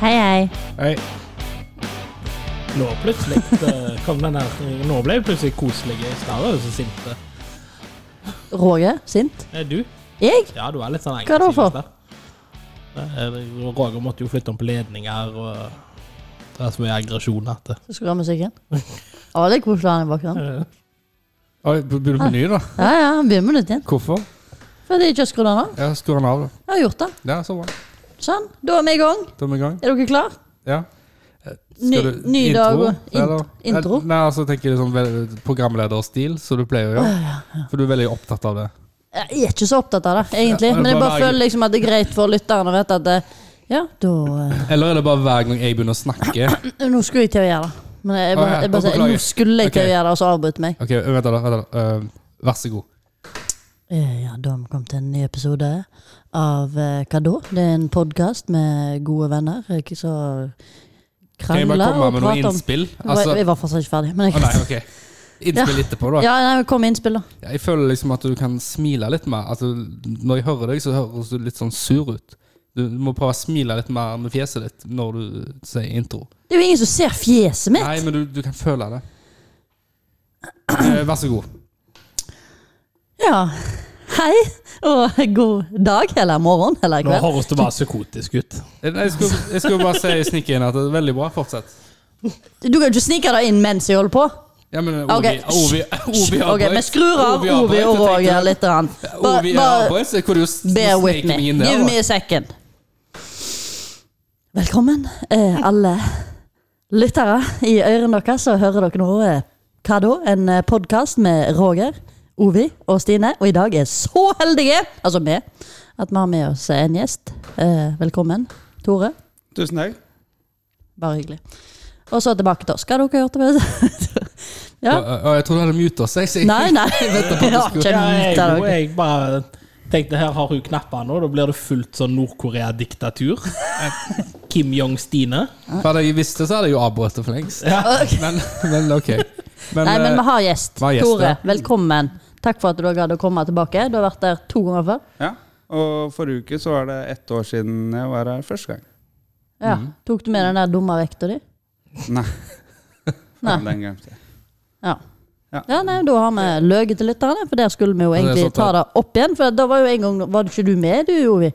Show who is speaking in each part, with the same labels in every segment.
Speaker 1: Hei, hei.
Speaker 2: Hei. Nå plutselig eh, kom den der Nå ble jeg plutselig koselig. I stad var jeg så sint.
Speaker 1: Roger, sint.
Speaker 2: Eh, Du?
Speaker 1: Jeg?
Speaker 2: Ja, du er litt sånn
Speaker 1: Hva da
Speaker 2: aggressiv i
Speaker 1: for?
Speaker 2: stad. Eh, eh, Roger måtte jo flytte om på ledninger og Det er så mye aggresjon at det
Speaker 1: Så skrur jeg musikken. Å, det er koselig han i bakgrunnen.
Speaker 3: Oi, Begynner du på ny, da?
Speaker 1: Ja, ja, han begynner med nytt igjen.
Speaker 3: Hvorfor?
Speaker 1: Fordi jeg ikke har skrudd den av.
Speaker 3: Ja, Skrur den av, da.
Speaker 1: Jeg har gjort det.
Speaker 3: Ja, så bra.
Speaker 1: Sånn, da er vi i gang.
Speaker 3: Da er vi i gang.
Speaker 1: Er dere klar?
Speaker 3: Ja.
Speaker 1: Ny,
Speaker 3: Skal du-
Speaker 1: ny dag og int-
Speaker 3: eller?
Speaker 1: intro.
Speaker 3: Nei, altså tenker jeg sånn vel- programlederstil, som du pleier å gjøre. For du er veldig opptatt av det.
Speaker 1: Jeg er ikke så opptatt av det, egentlig.
Speaker 3: Ja, men
Speaker 1: Men jeg
Speaker 3: bare
Speaker 1: bare
Speaker 3: lager-
Speaker 1: føler liksom at det er greit for lytterne å vite at eh, Ja, da eh,
Speaker 3: Eller er det bare hver gang jeg begynner å snakke?
Speaker 1: Nå skulle jeg til å gjøre det. Men jeg
Speaker 3: Å,
Speaker 1: bare,
Speaker 3: ja,
Speaker 1: jeg bare
Speaker 3: da
Speaker 1: sier
Speaker 3: beklager.
Speaker 1: Nå skulle jeg til å
Speaker 3: Ok.
Speaker 1: gjøre det, og så avbryter meg.
Speaker 3: Ok, vent da, vent da. Eh, vær så god.
Speaker 1: Eh, Ja, da har vi kommet til en ny episode av eh, Hva da? Det er en podkast med gode venner eh, k- som
Speaker 3: Kan jeg bare
Speaker 1: krangler
Speaker 3: komme
Speaker 1: og
Speaker 3: med noen
Speaker 1: prater om
Speaker 3: innspill?
Speaker 1: Jeg var-
Speaker 3: Altså,
Speaker 1: Jeg var fortsatt ikke ferdig. Men
Speaker 3: å
Speaker 1: jeg,
Speaker 3: nei, ok. Innspill etterpå, da.
Speaker 1: ja, nei, men kom med innspill, da.
Speaker 3: Jeg føler liksom at du kan smile litt mer. At du, når jeg hører deg, så høres du litt sånn sur ut. Du må prøve å smile litt mer med fjeset ditt når du sier intro.
Speaker 1: Det er jo ingen som ser fjeset mitt!
Speaker 3: Nei, men du, du kan føle det. Eh, vær så god.
Speaker 1: Ja. Hei, og god dag, eller morgen, eller
Speaker 2: Nå
Speaker 1: kveld.
Speaker 2: høres du bare psykotisk ut.
Speaker 3: Eh, nei, Jeg skulle, jeg skulle bare si snike inn at det er veldig bra. Fortsett.
Speaker 1: Du kan ikke snike deg inn mens jeg holder på.
Speaker 3: Ja, men eh, Ovi,
Speaker 1: Ok,
Speaker 3: Ovi, Ovi
Speaker 1: Ok,
Speaker 3: avbrøt.
Speaker 1: Vi skrur av
Speaker 3: avbrøt,
Speaker 1: Ovi og
Speaker 3: jeg tenkte-
Speaker 1: Roger litt. grann.
Speaker 3: Ovi
Speaker 1: Bare- bare-
Speaker 3: avbrøt, så jeg kunne jo s-
Speaker 1: Bear
Speaker 3: snike
Speaker 1: with me.
Speaker 3: meg inn
Speaker 1: Give
Speaker 3: der.
Speaker 1: me
Speaker 3: da.
Speaker 1: a second. Velkommen, eh, alle lyttere i ørene deres, så hører dere nå eh, hva da? En eh, podkast med Roger, Ovi og Stine. Og i dag er så heldige, altså vi, at vi har med oss en gjest. Eh, velkommen, Tore.
Speaker 4: Tusen takk.
Speaker 1: Bare hyggelig. Og så tilbake til oss. Hva har dere gjort? det? ja.
Speaker 3: Og- og eh, Jeg trodde du hadde muta seg. så jeg-
Speaker 1: Nei, nei. Jeg har ikke
Speaker 2: Ja, jeg,
Speaker 1: muta dere.
Speaker 2: jeg bare tenkte her har hun knapper nå, da blir det fullt sånn Nord-Korea-diktatur. Kim Jong-Stine.
Speaker 3: For Hadde jeg visst det, så hadde jeg jo avbrutt det for lengst. Men, men ok. Men,
Speaker 1: Nei, men
Speaker 3: eh,
Speaker 1: vi har gjest.
Speaker 3: vi har gjest,
Speaker 1: Tore,
Speaker 3: ja.
Speaker 1: velkommen. Takk for at du gadd å komme tilbake. Du har vært der to ganger før.
Speaker 4: Ja. Og forrige uke så var det ett år siden jeg var her første gang.
Speaker 1: Ja. Tok du med den der dumme vekta di?
Speaker 4: Nei.
Speaker 1: Nei.
Speaker 4: Faen, Den glemte jeg.
Speaker 1: Ja.
Speaker 4: Ja.
Speaker 1: Ja, nei, Da har vi løyet til lytterne, for der skulle vi jo
Speaker 3: det er
Speaker 1: egentlig
Speaker 3: sant,
Speaker 1: ta det opp igjen. For da var jo en gang Var ikke du med, du, Jovi?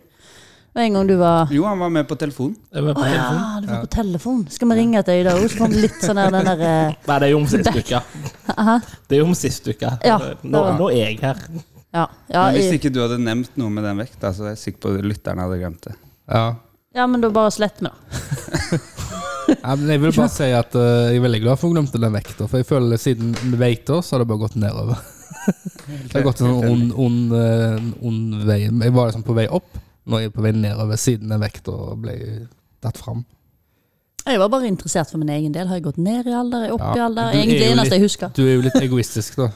Speaker 1: Og en gang du var
Speaker 4: Jo, han var med på telefon.
Speaker 2: Er vi
Speaker 1: Å
Speaker 2: på
Speaker 1: ja,
Speaker 2: telefon?
Speaker 1: du var på telefon. Skal vi ringe til deg i dag òg, så får vi litt sånn der den derre
Speaker 2: Nei, det er jo om sist uke. Det er jo om sist uke.
Speaker 1: Ja,
Speaker 2: Nå,
Speaker 1: det var-
Speaker 2: nå er jeg her.
Speaker 1: Ja. Ja,
Speaker 4: Men hvis
Speaker 1: i-
Speaker 4: ikke du hadde nevnt noe med den vekta, så er jeg sikker på at lytterne hadde glemt det.
Speaker 3: ja.
Speaker 1: ja men da bare slett vi det.
Speaker 3: Ja, men jeg vil bare si at eh, jeg er veldig glad for at hun glemte den vekta. For jeg føler siden vi vet det, så har det bare gått nedover. Det har gått en sånn ond, ond, eh, ond vei. Jeg var liksom på vei opp, nå er jeg på vei nedover siden den vekta ble tatt fram.
Speaker 1: Jeg var bare interessert for min egen del. Har jeg gått ned i alder? Er jeg opp i
Speaker 3: Ja,
Speaker 1: alder?
Speaker 3: du er
Speaker 1: Egentlig det
Speaker 3: jo
Speaker 1: eneste jeg husker.
Speaker 3: Du er jo litt egoistisk, da.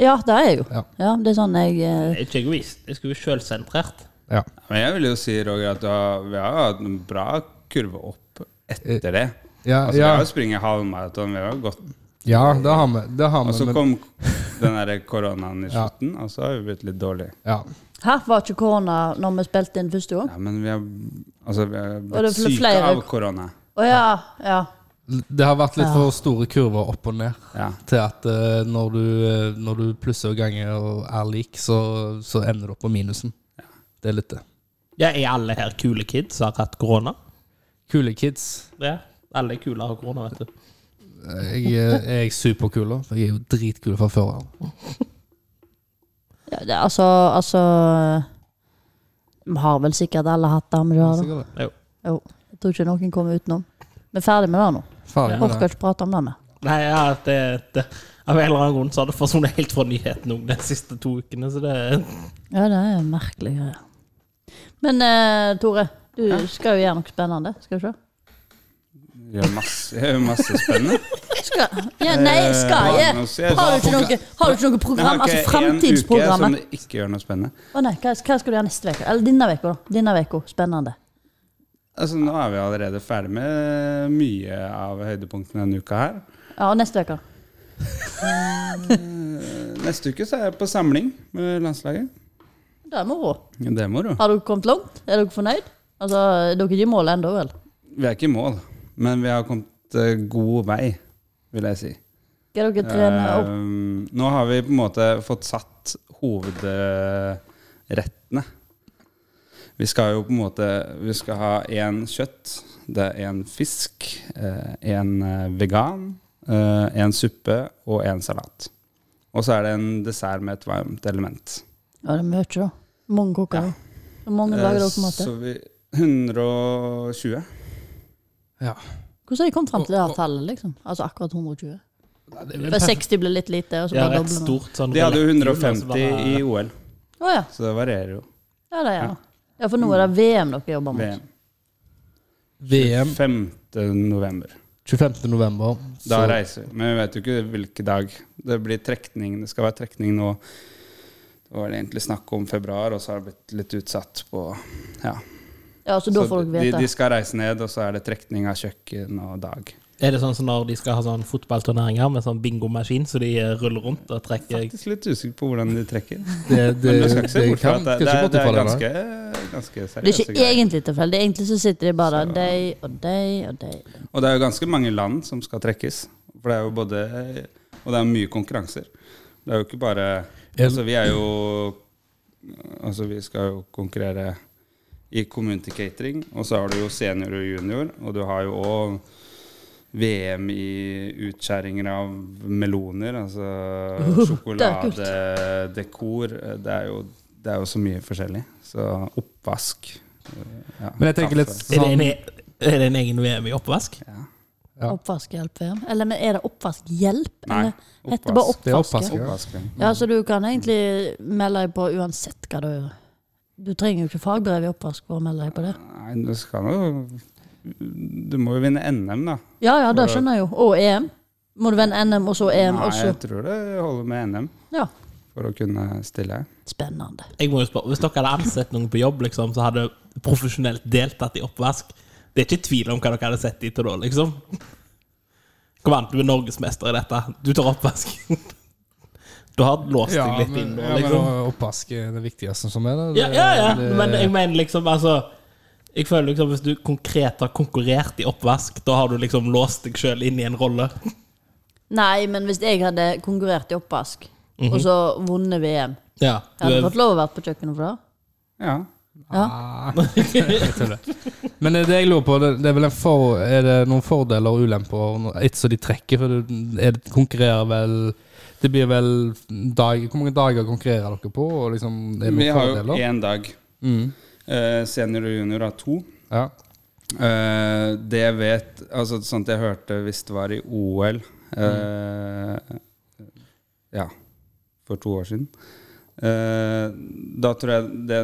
Speaker 1: Ja, det er jeg jo.
Speaker 3: Ja.
Speaker 1: Ja, det er sånn jeg eh,
Speaker 2: Jeg er ikke egoist. Jeg skulle jo sjølsentrert.
Speaker 3: Ja.
Speaker 4: Men jeg vil jo si, Roger, at du har, vi har jo hatt en bra kurve opp etter det.
Speaker 3: Ja,
Speaker 4: Altså, Vi
Speaker 3: ja,
Speaker 4: har jo springet halvmaraton, vi har jo gått
Speaker 3: ja det har vi. Det har
Speaker 4: Og så
Speaker 3: vi men,
Speaker 4: kom den der koronaen i slutten, og så har vi blitt litt dårlige.
Speaker 3: ja.
Speaker 1: Her var ikke korona når vi spilte inn første gang.
Speaker 4: Ja, men vi har, altså, vi har
Speaker 1: Og det
Speaker 4: blitt
Speaker 1: ble
Speaker 4: syke
Speaker 1: flere-
Speaker 4: av korona.
Speaker 1: Å ja, ja.
Speaker 3: Det har vært litt
Speaker 1: Ja.
Speaker 3: for store kurver opp og ned
Speaker 4: Ja.
Speaker 3: til at eh, når, du, eh, når du plusser og ganger og er lik, så, så ender du opp på minusen. Det er litt det.
Speaker 2: Ja, er alle her kule kids som har hatt korona?
Speaker 3: Kule kids.
Speaker 2: Ja. Alle er kule og har korona, vet du.
Speaker 3: Jeg, er- jeg er superkul, da. for Jeg er jo dritkul fra før av.
Speaker 1: Ja, det, altså, altså Vi har vel sikkert alle hatt det, men du har det.
Speaker 3: Sikkert det.
Speaker 1: Jo, jeg tror ikke noen kommer utenom. Vi er ferdig med det nå.
Speaker 3: Ferdig med
Speaker 1: Orker
Speaker 3: det.
Speaker 1: ikke prate om det mer.
Speaker 2: Nei, ja, det, det Av en eller annen grunn så har det forsvunnet helt fra nyhetene òg de siste to ukene, så det
Speaker 1: Ja, det er merkelige greier. Men eh, Tore, du skal jo gjøre noe spennende. Skal du se?
Speaker 4: Vi gjør masse, vi gjør masse spennende.
Speaker 1: Skal, ja, nei, skal
Speaker 4: Eh,
Speaker 1: jeg?
Speaker 4: nå ser jeg-
Speaker 1: Har du ikke noe, har du ikke noe
Speaker 4: Jeg har
Speaker 1: program?
Speaker 4: ikke
Speaker 1: Altså eh?
Speaker 4: En
Speaker 1: framtidsprogrammet?
Speaker 4: uke som det ikke gjør noe spennende.
Speaker 1: Å nei, hva, hva skal du gjøre neste uke? Eller denne uka, da. Denne uka. Spennende.
Speaker 4: Altså, nå er vi allerede ferdig med mye av høydepunktene denne uka her.
Speaker 1: Ja, og neste uke.
Speaker 4: Neste uke så er jeg på samling med landslaget.
Speaker 1: Det er moro.
Speaker 4: Det er moro.
Speaker 1: Har dere kommet langt? Er dere fornøyd? Altså, dere er ikke i mål ennå, vel?
Speaker 4: Vi er ikke i mål, men vi har kommet eh, god vei, vil jeg si.
Speaker 1: Skal dere trene
Speaker 4: Eh,
Speaker 1: opp?
Speaker 4: nå har vi på en måte fått satt hovedrettene. Vi skal jo på en måte Vi skal ha én kjøtt, det er én fisk, én vegan, én suppe og én salat. Og så er det en dessert med et varmt element.
Speaker 1: Ja, det er mye, da. Mange koker.
Speaker 4: Ja.
Speaker 1: da. Hvor mange lager
Speaker 4: Eh,
Speaker 1: dere på en måte?
Speaker 4: Så vi 120.
Speaker 3: Ja.
Speaker 1: Hvordan har de kommet fram til det her tallet, liksom? Altså akkurat 120?
Speaker 3: Det
Speaker 1: For 60 ble litt lite, og så
Speaker 2: De har
Speaker 1: bare
Speaker 2: et
Speaker 1: dobler man.
Speaker 2: stort sånn
Speaker 4: De hadde jo
Speaker 2: rulett, og så
Speaker 4: 150 i
Speaker 2: bare-
Speaker 4: OL,
Speaker 1: Å ja.
Speaker 4: så det varierer jo.
Speaker 1: ja, det er det. Ja, for nå er det VM dere jobber mot.
Speaker 4: Mm. VM.
Speaker 3: VM
Speaker 4: 5. november.
Speaker 3: 25. november.
Speaker 4: Da
Speaker 3: så-
Speaker 4: reiser vi. Men vi vet jo ikke hvilken dag. Det blir trekning. Det skal være trekning nå. Det var egentlig snakk om februar, og så har det blitt litt utsatt på Ja.
Speaker 1: Ja, så da får dere
Speaker 4: de, de
Speaker 1: vite.
Speaker 4: skal reise ned, og så er det trekning av kjøkken og dag.
Speaker 2: Er det sånn som når de skal ha sånn fotballturneringer med sånn bingomaskin, så de eh, ruller rundt og trekker
Speaker 4: Faktisk litt usikker på hvordan de trekker.
Speaker 3: Det,
Speaker 4: Men
Speaker 3: det,
Speaker 4: du skal ikke se
Speaker 3: det
Speaker 4: bort fra
Speaker 3: kan
Speaker 4: at det,
Speaker 3: kanskje
Speaker 4: det, er-
Speaker 3: gå
Speaker 4: det
Speaker 3: til
Speaker 4: er
Speaker 3: fallene.
Speaker 4: ganske, ganske
Speaker 1: Det er
Speaker 4: seriøse
Speaker 1: ikke
Speaker 4: greier.
Speaker 1: egentlig tilfeldig. Egentlig så sitter de bare de og de og de.
Speaker 4: Og det er jo ganske mange land som skal trekkes. For det er jo både Og det er mye konkurranser. Det er jo ikke bare Altså, vi er jo Altså, vi skal jo konkurrere i Community Catering, og så har du jo senior og junior, og du har jo òg VM i utskjæringer av meloner, altså sjokoladedekor. Det er jo, det er jo så mye forskjellig. Så oppvask ja,
Speaker 3: Men jeg tenker litt
Speaker 4: kaffe.
Speaker 2: er det, en,
Speaker 3: sånn
Speaker 2: e- er det en egen VM i oppvask?
Speaker 4: ja.
Speaker 3: Ja.
Speaker 1: Oppvaskhjelp-VM? Eller men er det oppvaskhjelp?
Speaker 4: Nei,
Speaker 1: Eller heter det bare
Speaker 4: oppvask.
Speaker 3: Det er
Speaker 1: oppvask?
Speaker 3: oppvask,
Speaker 1: ja?
Speaker 4: Oppvask, ja.
Speaker 1: Ja, så du kan egentlig melde deg på uansett hva du gjør. Du trenger jo ikke fagbrev i oppvask for å melde deg på det.
Speaker 4: Nei, du skal jo Du må jo vinne NM, da.
Speaker 1: Ja, ja, det skjønner jeg jo. Og EM. Må du vende NM, og så EM,
Speaker 4: Nei,
Speaker 1: og så
Speaker 4: jeg tror det holder med NM
Speaker 1: Ja.
Speaker 4: for å kunne stille.
Speaker 1: Spennende.
Speaker 2: Jeg må jo spørre, Hvis dere hadde ansett noen på jobb liksom, som hadde profesjonelt deltatt i oppvask Det er ikke tvil om hva dere hadde sett de til da, liksom. Kom an, du er norgesmester i dette. Du tar oppvask. Du har låst
Speaker 3: ja,
Speaker 2: deg litt
Speaker 3: men,
Speaker 2: inn nå,
Speaker 3: ja, men
Speaker 2: liksom.
Speaker 3: oppvask er det viktigste som er det.
Speaker 2: Ja, ja, ja.
Speaker 3: Det-
Speaker 2: Men jeg mener liksom, altså jeg føler liksom Hvis du konkret har konkurrert i oppvask, da har du liksom låst deg sjøl inn i en rolle.
Speaker 1: Nei, men hvis jeg hadde konkurrert i oppvask, og så vunnet VM
Speaker 2: Ja,
Speaker 1: Jeg hadde fått lov å være på kjøkkenet for det?
Speaker 4: Ja.
Speaker 3: Ah, jeg tror det. Men det jeg lurer på, det, det er vel en for, er det noen fordeler og ulemper når- etter som de trekker? For det, er det konkurrerer vel Det blir vel dag, Hvor mange dager konkurrerer dere på? Og liksom, er det
Speaker 4: Vi
Speaker 3: noen
Speaker 4: har jo
Speaker 3: fordeler?
Speaker 4: én dag.
Speaker 3: Mm,
Speaker 4: Eh, senior og junior har to.
Speaker 3: ja.
Speaker 4: Eh, det jeg vet Altså sånt jeg hørte hvis det var i OL eh, Ja, for to år siden. Eh, da tror jeg det,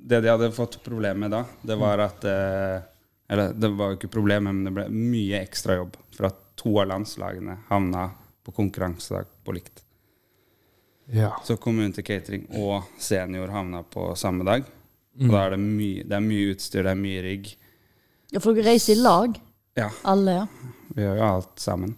Speaker 4: det de hadde fått problem med da, det var at eh, Eller det var jo ikke problemet, men det ble mye ekstra jobb for at to av landslagene havna på konkurransedag på likt.
Speaker 3: ja.
Speaker 4: Så Community Catering og senior havna på samme dag. Og da er det mye, det er mye utstyr, det er mye rigg.
Speaker 1: Ja, for dere reiser i lag,
Speaker 4: Ja.
Speaker 1: alle, ja.
Speaker 4: Vi gjør jo alt sammen.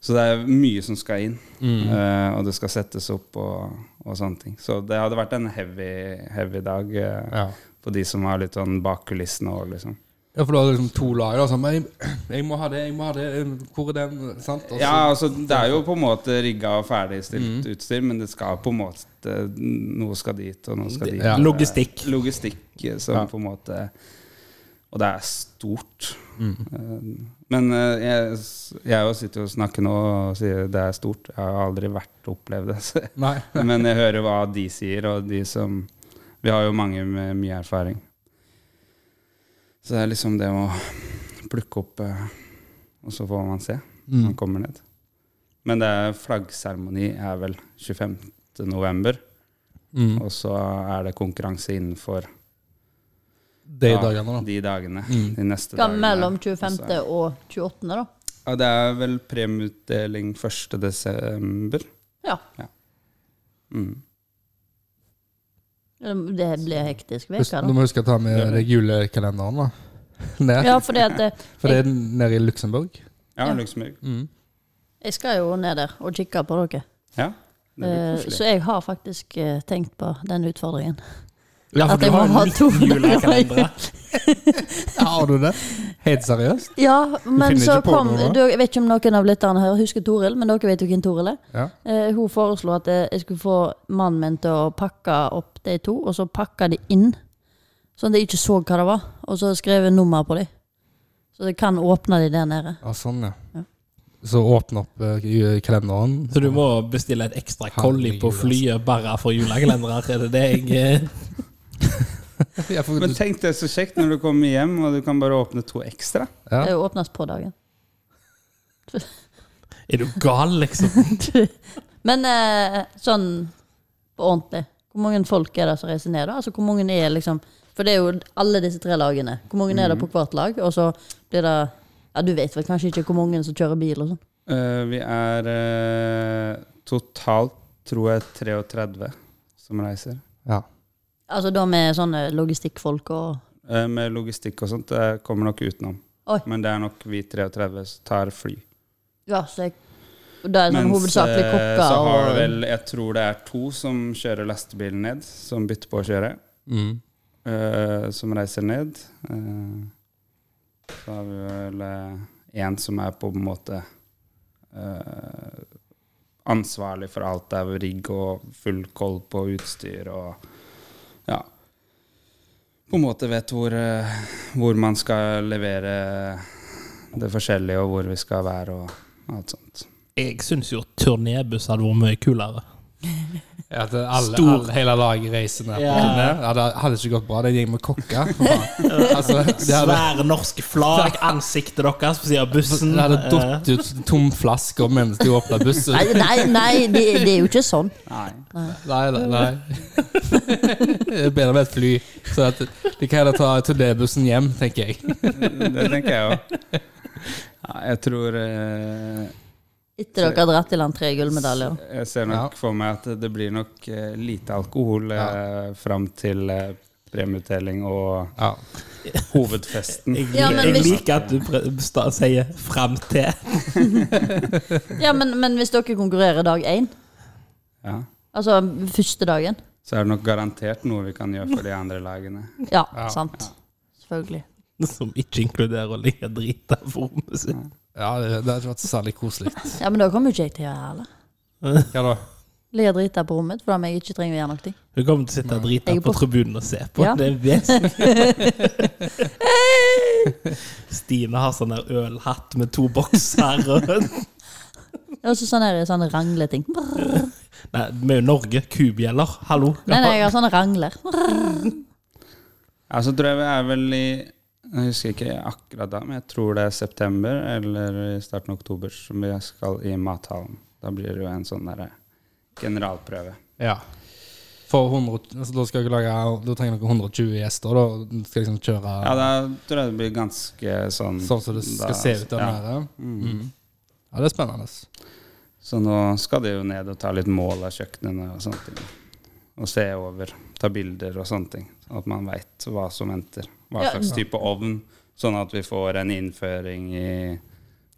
Speaker 4: Så det er mye som skal inn, eh, og det skal settes opp og, og sånne ting. Så det hadde vært en heavy, heavy dag eh,
Speaker 3: ja.
Speaker 4: på de som har litt sånn bak kulissene òg, liksom.
Speaker 3: Ja, for du har liksom to lag. da, sånn, men jeg, jeg må ha det, jeg må ha det. eh, Hvor er den? Sant? Og så-
Speaker 4: Ja, altså det er jo på en måte rigga og ferdigstilt utstyr, men det skal på en måte Noe skal dit, og noe skal dit.
Speaker 3: Ja.
Speaker 2: Logistikk.
Speaker 4: Logistikk eh, som
Speaker 3: Ja.
Speaker 4: på en måte Og det er stort. Eh, Men eh, jeg, jeg jo sitter jo og snakker nå og sier det er stort. Jeg har aldri vært opplevd det. Så
Speaker 3: Nei.
Speaker 4: Men jeg hører hva de sier, og de som Vi har jo mange med mye erfaring. Så det er liksom det å plukke opp, eh, og så får man se
Speaker 3: Mm.
Speaker 4: når man kommer ned. Men det er flaggseremoni er vel 25. november,
Speaker 3: Mm.
Speaker 4: og så er det konkurranse innenfor
Speaker 3: De
Speaker 4: ja,
Speaker 3: dagene, da.
Speaker 4: De dagene,
Speaker 3: Mm.
Speaker 4: de neste
Speaker 1: Hva
Speaker 4: dagene.
Speaker 1: mellom
Speaker 4: Og
Speaker 1: 25.
Speaker 4: så er-
Speaker 1: og 28., da?
Speaker 4: Ja, det er vel premieutdeling 1. desember.
Speaker 1: Ja.
Speaker 4: Mm.
Speaker 1: Det blir hektisk
Speaker 3: Husk,
Speaker 1: uke,
Speaker 3: du
Speaker 1: da.
Speaker 3: må huske å ta med deg julekalenderen, da. Ned.
Speaker 1: Ja, fordi at eh,
Speaker 3: For det er nede i Luxembourg.
Speaker 4: Ja,
Speaker 1: Ja.
Speaker 4: Luxembourg.
Speaker 3: Mm.
Speaker 1: jeg skal jo ned der og kikke på dere.
Speaker 4: Ja, det blir
Speaker 1: Eh,
Speaker 4: koselig.
Speaker 1: Så jeg har faktisk eh, tenkt på den utfordringen.
Speaker 2: Ja, for
Speaker 1: At
Speaker 2: du
Speaker 1: jeg må
Speaker 2: har
Speaker 1: ha
Speaker 2: jo
Speaker 1: to
Speaker 2: to julekalendere.
Speaker 3: Har du det? Helt seriøst?
Speaker 1: Ja, men
Speaker 3: finner
Speaker 1: så
Speaker 3: ikke på
Speaker 1: kom
Speaker 3: noe, da?
Speaker 1: du, Jeg vet ikke om noen av lytterne her husker Toril, men dere vet jo hvem Toril er.
Speaker 3: Ja.
Speaker 1: Eh, hun foreslo at eh, jeg skulle få mannen min til å pakke opp de to, og så pakka de inn. Sånn at jeg ikke så hva det var. Og så skrev jeg nummer på de. Så jeg kan åpne de der nede.
Speaker 3: Ja, sånn, ja.
Speaker 1: Ja.
Speaker 3: Så åpne opp eh, i kalenderen.
Speaker 2: Så du må bestille et ekstra kolli på
Speaker 3: altså.
Speaker 2: flyet bare for julekalendere? Er det det jeg eh,
Speaker 3: Ja, for,
Speaker 4: Men tenk det er så kjekt når du kommer hjem, og du kan bare åpne to ekstra.
Speaker 3: Ja.
Speaker 1: Det åpnes på dagen.
Speaker 2: Er du gal, liksom?
Speaker 1: Men eh, sånn på ordentlig. Hvor mange folk er det som reiser ned, da? Altså, hvor mange er liksom For det er jo alle disse tre lagene. Hvor mange
Speaker 4: Mhm.
Speaker 1: er det på hvert lag? Og så blir det Ja, du vet vel kanskje ikke hvor mange som kjører bil og sånn.
Speaker 4: Eh, vi er eh, totalt, tror jeg, 33 som reiser.
Speaker 3: ja.
Speaker 1: Altså da med sånne logistikkfolk og
Speaker 4: Eh, med logistikk og sånt det kommer nok utenom.
Speaker 1: Oi.
Speaker 4: Men det er nok vi 33 som tar fly.
Speaker 1: Ja, så jeg og da er det sånn hovedsakelig
Speaker 4: eh,
Speaker 1: kokker
Speaker 4: så har
Speaker 1: og
Speaker 4: det vel Jeg tror det er to som kjører lastebilen ned, som bytter på å kjøre.
Speaker 3: Mm.
Speaker 4: eh, som reiser ned. Eh, så har vi vel én som er på en måte eh, ansvarlig for alt av rigg og full koll på utstyr og ja. På en måte vet hvor, eh, hvor man skal levere det forskjellige, og hvor vi skal være og alt sånt.
Speaker 2: Jeg syns jo turnébuss hadde vært mye kulere.
Speaker 3: Ja, at alle,
Speaker 2: Stor-
Speaker 3: alle, hele laget reiser ned.
Speaker 2: Ja.
Speaker 3: på turné. Ja, det hadde ikke gått bra. Det er en gjeng med kokker. for faen. altså, det hadde,
Speaker 2: Svære norske flagg, ansiktet deres på siden av bussen.
Speaker 3: det hadde
Speaker 2: Eh,
Speaker 3: datt ut tomflasker mens de åpna bussen.
Speaker 1: Nei, nei, nei det, det er jo ikke sånn.
Speaker 4: Nei.
Speaker 3: Nei, nei, nei. Det er bedre med et fly. Så at de kan heller ta turnébussen hjem, tenker jeg.
Speaker 4: Det tenker jeg òg. Ja, jeg tror eh,
Speaker 1: Etter dere har dratt i land tre gullmedaljer.
Speaker 4: Jeg ser nok for meg at det blir nok eh, lite alkohol ja. fram til eh, premieutdeling og
Speaker 3: Ja.
Speaker 4: hovedfesten.
Speaker 2: Eh, Jeg,
Speaker 1: Ja, men
Speaker 2: jeg
Speaker 1: hvis-
Speaker 2: liker at du pre- sta- sier 'fram til'.
Speaker 1: Ja, men, men hvis dere konkurrerer dag én,
Speaker 4: Ja.
Speaker 1: altså første dagen
Speaker 4: Så er det nok garantert noe vi kan gjøre for de andre lagene.
Speaker 1: Ja, sant. Selvfølgelig.
Speaker 2: Som ikke inkluderer å ligge drita på rommet sitt.
Speaker 3: Ja, det, det hadde vært særlig koselig.
Speaker 1: Ja, Men da kommer jo ikke jeg til å gjøre det heller.
Speaker 3: Hva da?
Speaker 1: Ligger drita på rommet for da må jeg ikke trenger å gjøre noe.
Speaker 2: Du kommer til å sitte drita
Speaker 1: Jeg er
Speaker 2: på
Speaker 1: på-
Speaker 2: tribunen og se på.
Speaker 1: Ja.
Speaker 2: Det er vesentlig. Stine har sånn der ølhatt med to bokser. og-
Speaker 1: Og så sånn her, sånne rangleting. Brrr.
Speaker 2: Nei, vi er jo Norge. Kubjeller. Hallo.
Speaker 1: Nei, nei, jeg har sånne rangler.
Speaker 4: Ja, så Altså, tror jeg vi er vel i jeg husker ikke akkurat da, men jeg tror det er september eller i starten av oktober som vi skal i mathallen. Da blir det jo en sånn derre generalprøve.
Speaker 3: Ja. For 100, altså, da, skal dere lage, da trenger dere 120 gjester, da. og dere Skal liksom kjøre
Speaker 4: Ja, da tror jeg det blir ganske sånn
Speaker 3: sånn som det skal
Speaker 4: da-
Speaker 3: se ut der
Speaker 4: ja.
Speaker 3: nede. Mm. Ja, det er spennende.
Speaker 4: Så nå skal de jo ned og ta litt mål av kjøkkenene og sånne ting. Og se over, ta bilder og sånne ting. Sånn at man veit hva som venter. Hva
Speaker 1: Ja.
Speaker 4: slags type ovn. Sånn at vi får en innføring i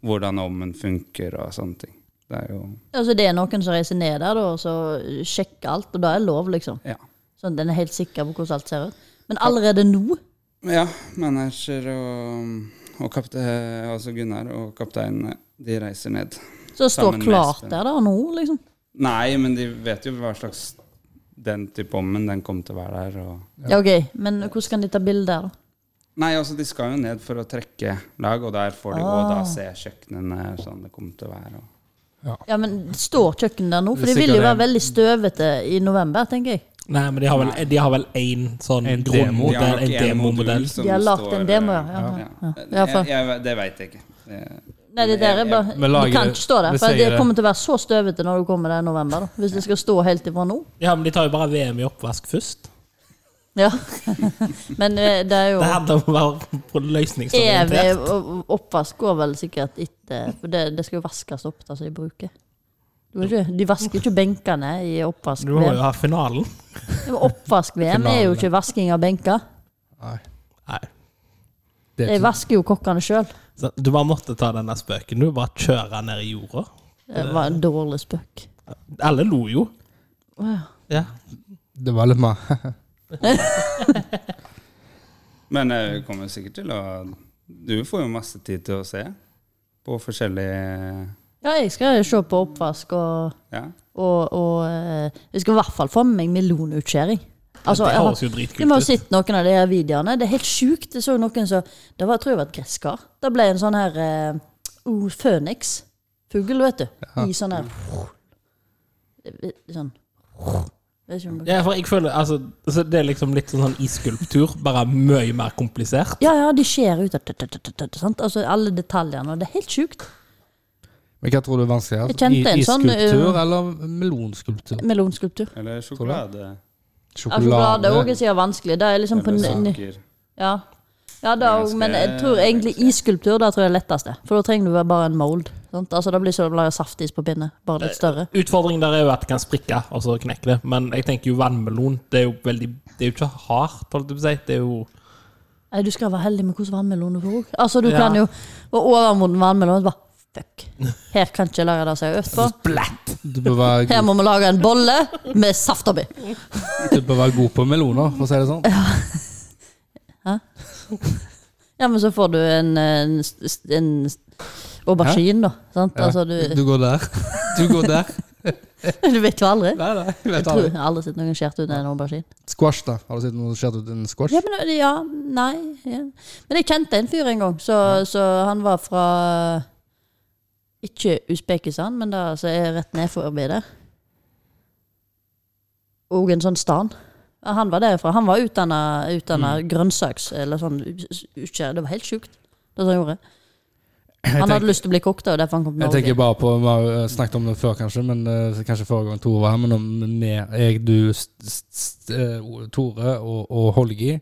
Speaker 4: hvordan ovnen funker og sånne ting. Det er jo
Speaker 1: Altså, det er noen som reiser ned der da, og så sjekker alt, og da er det lov, liksom.
Speaker 4: Ja.
Speaker 1: Sånn, den er helt sikker på hvordan alt ser ut. Men allerede nå
Speaker 4: Ja, manager og, og kapte, altså Gunnar og kapteinen, de reiser ned.
Speaker 1: Så det står
Speaker 4: Sammen med
Speaker 1: klart
Speaker 4: Espen.
Speaker 1: der da nå, liksom.
Speaker 4: Nei, men de vet jo hva slags den type ovnen den kommer til å være der. og...
Speaker 1: Ja. ok, Men hvordan kan de ta bilder, da?
Speaker 4: Nei, altså de skal jo ned for å trekke lag, og der får de jo
Speaker 1: Ah.
Speaker 4: da se kjøkkenene sånn det kommer til å være. Og.
Speaker 1: Ja, men Står kjøkkenet der nå? For
Speaker 3: Det er
Speaker 1: de vil jo
Speaker 3: sikkert
Speaker 1: være
Speaker 3: en-
Speaker 1: veldig støvete i november, tenker jeg.
Speaker 2: Nei, men de har vel, de har vel en sånn
Speaker 3: En demo.
Speaker 4: De har
Speaker 2: grunnmodell,
Speaker 4: nok
Speaker 2: en
Speaker 4: en modul
Speaker 2: demomodell.
Speaker 4: som
Speaker 1: De har lagt en
Speaker 4: står,
Speaker 1: demo, ja,
Speaker 4: eh,
Speaker 1: ja, ja, ja,
Speaker 4: Jeg,
Speaker 1: for-
Speaker 4: jeg, det veit jeg ikke. Det-
Speaker 1: Nei, det der er bare,
Speaker 3: Men
Speaker 1: Du
Speaker 3: lager
Speaker 1: kan
Speaker 3: det-
Speaker 1: ikke stå der,
Speaker 3: det
Speaker 1: for
Speaker 3: sier
Speaker 1: det
Speaker 3: det.
Speaker 1: kommer til å være så støvete når du kommer der i november. da Hvis det skal stå helt ifra nå.
Speaker 2: Ja, men de tar jo bare VM i oppvask først.
Speaker 1: Ja Men eh, det er jo
Speaker 2: Det handler om å være på
Speaker 1: EV
Speaker 2: løsningsorientert.
Speaker 1: og oppvask går vel sikkert etter For det, det skal jo vaskes opp, da, som de bruker. Du vet ikke, de vasker ikke benkene i
Speaker 2: Du må jo
Speaker 1: oppvask-VM.
Speaker 2: ha finalen.
Speaker 1: Oppvask-VM er jo ikke vasking av benker.
Speaker 3: Nei.
Speaker 2: Nei.
Speaker 3: Det
Speaker 1: De
Speaker 3: er ikke,
Speaker 1: vasker jo kokkene sjøl.
Speaker 2: Så du bare måtte ta denne spøken. Du bare kjøre ned i jorda.
Speaker 1: Det var en dårlig spøk.
Speaker 2: Alle lo jo.
Speaker 1: Wow.
Speaker 2: Ja.
Speaker 3: det var litt mer
Speaker 4: Men jeg kommer sikkert til å Du får jo masse tid til å se på forskjellige
Speaker 1: Ja, jeg skal se på oppvask og,
Speaker 4: Ja.
Speaker 1: og, og eh, Jeg skal i hvert fall få med meg melonutskjæring. Altså,
Speaker 2: det
Speaker 1: jeg har-
Speaker 2: høres jo
Speaker 1: Vi må
Speaker 2: dritkult
Speaker 1: ha
Speaker 2: ut.
Speaker 1: sett noen av de her videoene. Det er helt sjukt. Jeg så noen som Det var, tror jeg var et gresskar. Det ble en sånn her eh, oh, Føniksfugl, vet du. I sånn her Sånn Vet ikke om dere-
Speaker 2: Ja, for jeg føler, altså, altså, Det er liksom litt sånn, sånn isskulptur, bare mye mer komplisert.
Speaker 1: Ja, ja, de skjer ut av t- t- t- t- t- sant? Altså alle detaljene, og det er helt sjukt.
Speaker 3: Men hva tror du er vanskeligere?
Speaker 1: Jeg kjente en sånn,
Speaker 3: Isskulptur
Speaker 1: uh,
Speaker 3: eller melonskulptur?
Speaker 1: Melonskulptur.
Speaker 4: Eller sjokolade.
Speaker 1: Ja, sjokolade òg er sikkert vanskelig. Det er liksom på
Speaker 4: Eller
Speaker 1: n- n-
Speaker 4: saker.
Speaker 1: Ja, ja det er også, men jeg tror egentlig isskulptur der tror jeg er letteste. For da trenger du bare en mold. Sant? Altså, det blir som å lage saftis på pinne, bare litt større.
Speaker 2: Utfordringen der er jo at det kan sprikke, og så knekke det. Men jeg tenker jo vannmelon Det er jo veldig Det er jo ikke hardt, holdt jeg på å si. Det er jo
Speaker 1: Nei, du skal være heldig med hvordan vannmelon du får òg. Altså, du
Speaker 2: Ja.
Speaker 1: kan jo være overmoden vannmelon og bare Fuck, her kan ikke jeg lage det som jeg har øvd på.
Speaker 3: Splatt! Du bør, være,
Speaker 1: Her må vi lage en bolle med saft oppi.
Speaker 3: du bør være god på meloner, for å si det sånn.
Speaker 1: Ja, men så får du en, en, en aubergine, da. Sant?
Speaker 3: Ja.
Speaker 1: Altså, du,
Speaker 3: Du går der. Du går der.
Speaker 1: du vet jo aldri.
Speaker 3: Nei, nei, jeg
Speaker 1: Jeg
Speaker 3: vet
Speaker 1: tror
Speaker 3: aldri.
Speaker 1: jeg har aldri sett noen skjært ut en aubergine.
Speaker 3: Squash, da. Har du sett noe som skjer ut en squash?
Speaker 1: Ja, men ja, nei ja. Men jeg kjente en fyr en gang, så, så han var fra Ikke Usbekistan, men da så er jeg rett ned forbi der. Og en sånn stan. Ja, Han var derfra. Han var utdanna
Speaker 3: Mm.
Speaker 1: grønnsaks... Eller sånn utskjærer. Det var helt sjukt, det som han gjorde. Han hadde lyst til å bli kokk, da, og derfor han kom til
Speaker 3: Jeg
Speaker 1: Norge.
Speaker 3: tenker bare på, Vi har jo eh, snakket om det før, kanskje, men eh, kanskje forrige gang Tore var her. Men om vi, jeg, du, st, st, eh, Tore og, og Holgi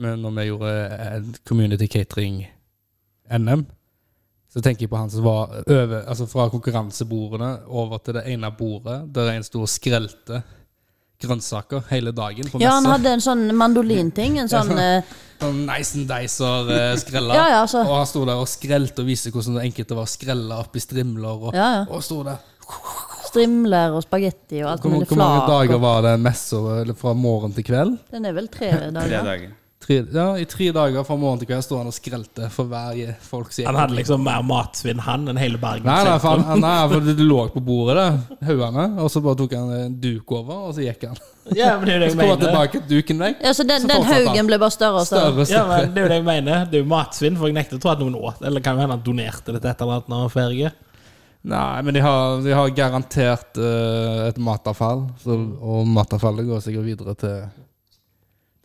Speaker 3: Men når vi gjorde eh, Community Catering NM, så tenker jeg på han som var over, altså fra konkurransebordene over til det ene bordet der en sto og skrelte grønnsaker hele dagen på
Speaker 1: Ja, han
Speaker 3: messa.
Speaker 1: hadde en sånn mandolinting. En sånn eh,
Speaker 3: Sånn nice and dicer eh, skrella.
Speaker 1: Ja, ja, altså.
Speaker 3: Og han sto der og skrelte og viste hvordan det enkelte var å skrelle opp i strimler. Og,
Speaker 1: Ja, ja.
Speaker 3: og sto der
Speaker 1: Strimler og spagetti og alt
Speaker 3: Hvor,
Speaker 1: mulig
Speaker 3: hvor mange
Speaker 1: flak.
Speaker 3: dager
Speaker 1: og-
Speaker 3: var det messa eller fra morgen til kveld?
Speaker 1: Den er vel tre
Speaker 4: Tre
Speaker 1: dager.
Speaker 4: dager.
Speaker 3: Tre, ja, I tre dager fra morgen til kveld sto han og skrelte for hver folk som gikk.
Speaker 2: Han hadde liksom mer matsvinn, han, enn hele Bergen.
Speaker 3: Nei, nei, for,
Speaker 2: sentrum.
Speaker 3: han, nei, for det lå på bordet, det. Haugene. Og så bare tok han en duk over, og så gikk han.
Speaker 2: Ja, men det er jo det jeg
Speaker 3: Så kom han
Speaker 2: mener.
Speaker 3: tilbake, duken vekk.
Speaker 1: Ja, så den,
Speaker 3: Så
Speaker 1: den
Speaker 3: fortsatte
Speaker 1: haugen
Speaker 3: han.
Speaker 1: ble bare større altså. og større.
Speaker 3: Større,
Speaker 2: Ja,
Speaker 3: større.
Speaker 2: men det er jo det jeg mener. Det er jo matsvinn, for jeg nekter å tro at noen åt Eller kan jo hende han donerte det til et eller annet når han var ferdig.
Speaker 3: Nei, men de har, de har garantert eh, et matavfall. Så, og matavfallet går sikkert videre til,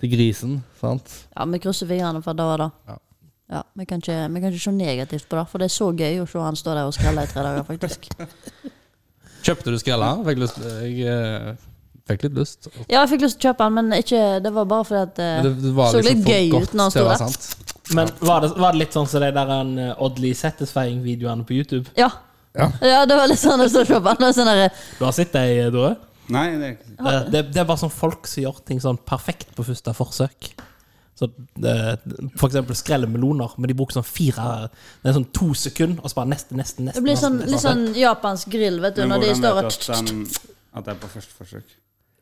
Speaker 3: til grisen, sant?
Speaker 1: Ja, vi krysser fingrene for det og det.
Speaker 3: Ja.
Speaker 1: Ja, vi kan, ikke, vi kan ikke se negativt på det, for det er så gøy å se han stå der og skrelle i tre dager, faktisk.
Speaker 3: Kjøpte du skrella? Fikk lyst, jeg eh, fikk litt lyst.
Speaker 1: Ja, jeg fikk lyst til å kjøpe han, men ikke, det var bare fordi at eh,
Speaker 3: Men det, det var
Speaker 1: så
Speaker 3: liksom
Speaker 1: litt
Speaker 3: for
Speaker 1: gøy
Speaker 3: godt
Speaker 1: ut når han
Speaker 3: til å
Speaker 1: sto
Speaker 3: være
Speaker 1: der.
Speaker 3: sant.
Speaker 2: Men var det, var det litt sånn som de der han, eh, Oddly Satisfying-videoene på YouTube?
Speaker 1: Ja.
Speaker 3: Ja.
Speaker 1: Ja, det var litt sånn å stå og se på han. det er Sånn der,
Speaker 2: Du har sett dem, Dore?
Speaker 4: Nei, det er ikke
Speaker 2: Eh, Det, det er bare sånn folk som gjør ting sånn perfekt på første forsøk. Så, eh, for eksempel skrelle meloner, men de bruker sånn fire Det er sånn to sekunder, og så bare neste, neste, neste.
Speaker 1: det blir sånn,
Speaker 2: neste,
Speaker 1: litt
Speaker 2: neste.
Speaker 1: sånn japansk grill, vet du,
Speaker 4: Men
Speaker 1: når de
Speaker 4: hvordan
Speaker 1: står
Speaker 4: vet
Speaker 1: og
Speaker 4: du at, den, at det er på første forsøk?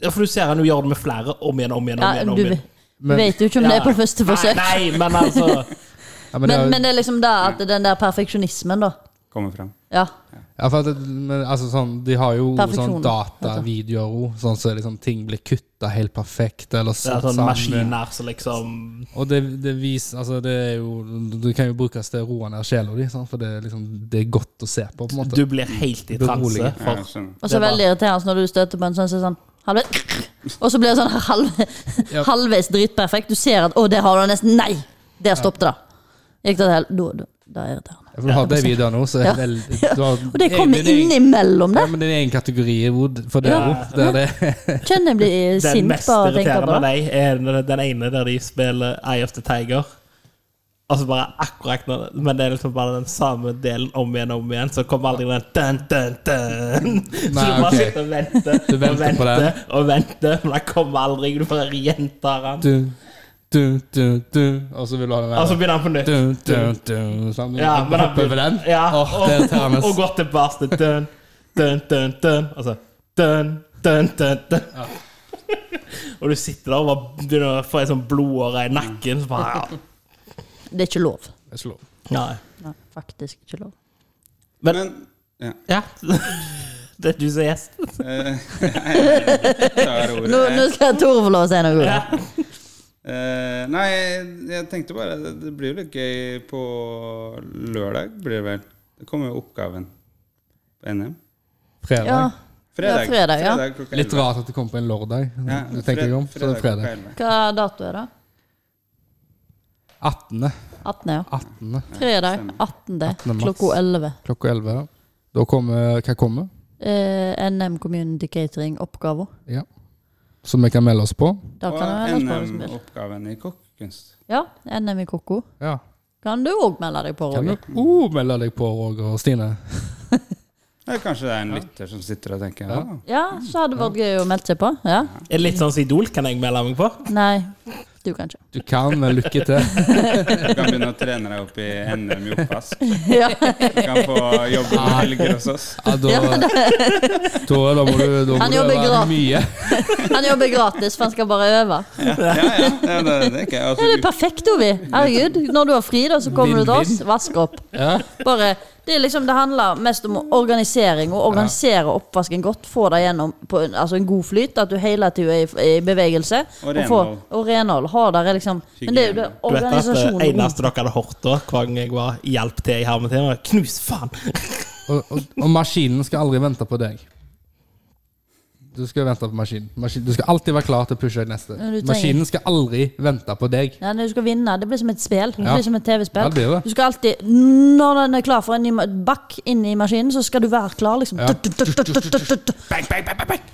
Speaker 2: Ja, For du ser han jo gjør det med flere om igjen, om igjen, om
Speaker 1: sånn- ja,
Speaker 2: igjen. om
Speaker 1: Du
Speaker 2: igjen.
Speaker 1: du vet jo ikke om det er på første forsøk.
Speaker 2: Nei, nei, men altså
Speaker 3: Ja, men det er-
Speaker 1: Men, men det er liksom det at den der perfeksjonismen, da.
Speaker 4: Kommer frem.
Speaker 1: Ja.
Speaker 3: Ja, for at det, men, altså, sånn, de har jo sånn
Speaker 1: Perfeksjon,
Speaker 3: datavideoer òg, sånn så liksom, ting blir kutta helt perfekt eller
Speaker 2: Det er
Speaker 3: satt
Speaker 2: sånn
Speaker 3: sammen.
Speaker 2: maskiner som liksom
Speaker 3: Og det, det viser Altså, det er jo Det kan jo brukes til å roe ned sjela di, sant, for det er liksom Det er godt å se på, på en måte.
Speaker 2: Du blir helt i transe.
Speaker 3: Beroligende.
Speaker 4: Ja, jeg
Speaker 2: For
Speaker 4: skjønner.
Speaker 1: Og så
Speaker 2: Det var-
Speaker 1: veldig irriterende når du støter på en sånn som er sånn halvveis Og så blir det sånn halv,
Speaker 3: Ja.
Speaker 1: halvveis dritperfekt. Du ser at 'Å, det har du nesten'. Nei! Der stoppet det. Gikk det til da, da, da er det
Speaker 3: Ja, for du har de videoene òg, så er
Speaker 1: Ja.
Speaker 3: det veldig du har
Speaker 1: Og det kommer
Speaker 3: egen- din egen-
Speaker 1: innimellom
Speaker 3: Ja,
Speaker 1: det.
Speaker 3: men det er en kategori Wood, for det
Speaker 2: Ja.
Speaker 3: òg. Det er det.
Speaker 1: Kjenner jeg blir
Speaker 2: den
Speaker 1: sint
Speaker 2: mest
Speaker 1: bare av å tenke
Speaker 2: irriterende
Speaker 1: på det.
Speaker 2: av dem er den- den ene der de spiller Eye of the Tiger. Altså bare akkurat når Men det er liksom bare den samme delen om igjen og om igjen. Så kommer aldri den dun, dun, dun. Så
Speaker 3: Nei,
Speaker 2: du bare
Speaker 3: ok.
Speaker 2: sitter og venter,
Speaker 3: Du venter
Speaker 2: og
Speaker 3: på
Speaker 2: venter
Speaker 3: den.
Speaker 2: og venter, men den kommer aldri. Du bare gjentar den.
Speaker 3: Du, du, du, du. Og så vil du ha den der.
Speaker 2: Og så begynner den på nytt.
Speaker 3: du, du, du. Sånn,
Speaker 2: Altså, Ja, men han
Speaker 3: hopper over den.
Speaker 2: Ja,
Speaker 3: Åh,
Speaker 2: og,
Speaker 3: det er irriterende.
Speaker 2: og går tilbake til Altså, dun, dun, dun, dun. Og så dun, dun, dun, dun. Og du sitter der og bare begynner å få en sånn blodåre i nakken. Så bare, ja.
Speaker 1: Det er ikke lov.
Speaker 3: Jeg slår.
Speaker 2: Nei.
Speaker 1: Nei, faktisk ikke lov.
Speaker 2: Men-
Speaker 4: Men
Speaker 2: Ja.
Speaker 4: ja.
Speaker 2: Det er du som er gjest.
Speaker 4: tar ordet.
Speaker 1: Nå, nå skal Tore få lov å si noe. Ja.
Speaker 4: Eh, nei, jeg tenkte bare det, det blir jo litt gøy på lørdag, blir det vel. Det kommer jo oppgaven på NM.
Speaker 3: Fredag.
Speaker 1: Ja.
Speaker 4: Fredag.
Speaker 1: Ja, fredag, ja.
Speaker 4: klokka
Speaker 3: Litt
Speaker 4: 11.
Speaker 3: rart at det kom på en lørdag.
Speaker 4: Ja,
Speaker 3: det tenker jeg om. Så det er
Speaker 4: klokka
Speaker 3: fredag.
Speaker 4: 11.
Speaker 1: Hva dato er det?
Speaker 3: 18.
Speaker 1: 18, ja.
Speaker 3: 18.
Speaker 1: Fredag 18.
Speaker 3: 18. mars.
Speaker 1: klokka 11.
Speaker 3: Klokka 11. ja. Da kommer Hva kommer?
Speaker 1: Eh, NM Community Catering-oppgaven.
Speaker 3: Ja. Som vi kan melde oss på?
Speaker 1: Da kan du
Speaker 4: Og
Speaker 1: melde deg på. hvis du vil.
Speaker 4: NM-oppgaven i kokkekunst.
Speaker 1: Ja, NM i koko.
Speaker 3: Ja.
Speaker 1: Kan du òg melde deg på,
Speaker 3: Kan du
Speaker 1: Roger?
Speaker 3: oh, melde deg på, Roger og Stine?
Speaker 4: Det er kanskje det er en lytter som sitter og tenker
Speaker 3: Ja.
Speaker 4: «Å,
Speaker 1: Ja, så hadde det vært gøy å melde seg på. Ja?
Speaker 2: Er det litt sånn som Idol kan jeg melde meg på?
Speaker 1: Nei, du kan ikke.
Speaker 3: Du kan, men lykke til.
Speaker 4: Du kan begynne å trene deg opp i NM i oppvask.
Speaker 1: Ja,
Speaker 4: Du kan få jobbe på helger hos oss.
Speaker 3: Ja, da,
Speaker 1: Ja,
Speaker 3: Tore, da må du da må
Speaker 1: Han
Speaker 3: du
Speaker 1: jobber
Speaker 3: øve
Speaker 1: gratis.
Speaker 3: mye.
Speaker 1: Han jobber gratis, for han skal bare øve.
Speaker 4: Ja, ja, det, det, det er ikke
Speaker 1: Det er jo
Speaker 4: altså,
Speaker 1: perfekt, Ovi. Herregud. Når du har fri, da, så kommer du til oss.
Speaker 3: Vinn-vinn.
Speaker 1: Vask opp.
Speaker 3: Ja.
Speaker 1: Bare, det, er liksom, det handler mest om organisering, og organisere oppvasken godt. Få det gjennom på en, altså en god flyt, at du hele tida er i, i bevegelse.
Speaker 4: Og
Speaker 1: få-
Speaker 4: renhold.
Speaker 1: og renhold. Har der er liksom Men det er jo det
Speaker 2: Du vet at eh, det
Speaker 1: organisasjonen.
Speaker 2: eneste dere hadde hørt da, hver gang jeg var hjalp til i hermetiden, var 'knus faen'.
Speaker 3: Og, og, og maskinen skal aldri vente på deg. Du skal vente på maskinen. Maskin, du skal alltid være klar til å pushe deg neste.
Speaker 1: Ja, du trenger-
Speaker 3: Maskinen skal aldri vente på deg.
Speaker 1: Nei, når du skal vinne. Det blir som et spill. Det
Speaker 3: Ja.
Speaker 1: blir som et
Speaker 3: Ja,
Speaker 1: TV-spill.
Speaker 3: det blir det.
Speaker 1: Du skal alltid, når den er klar for en ny ma- bakk inni maskinen, så skal du være klar, liksom.
Speaker 3: Ja.
Speaker 1: Tut, tut, tut, tut, tut, tut.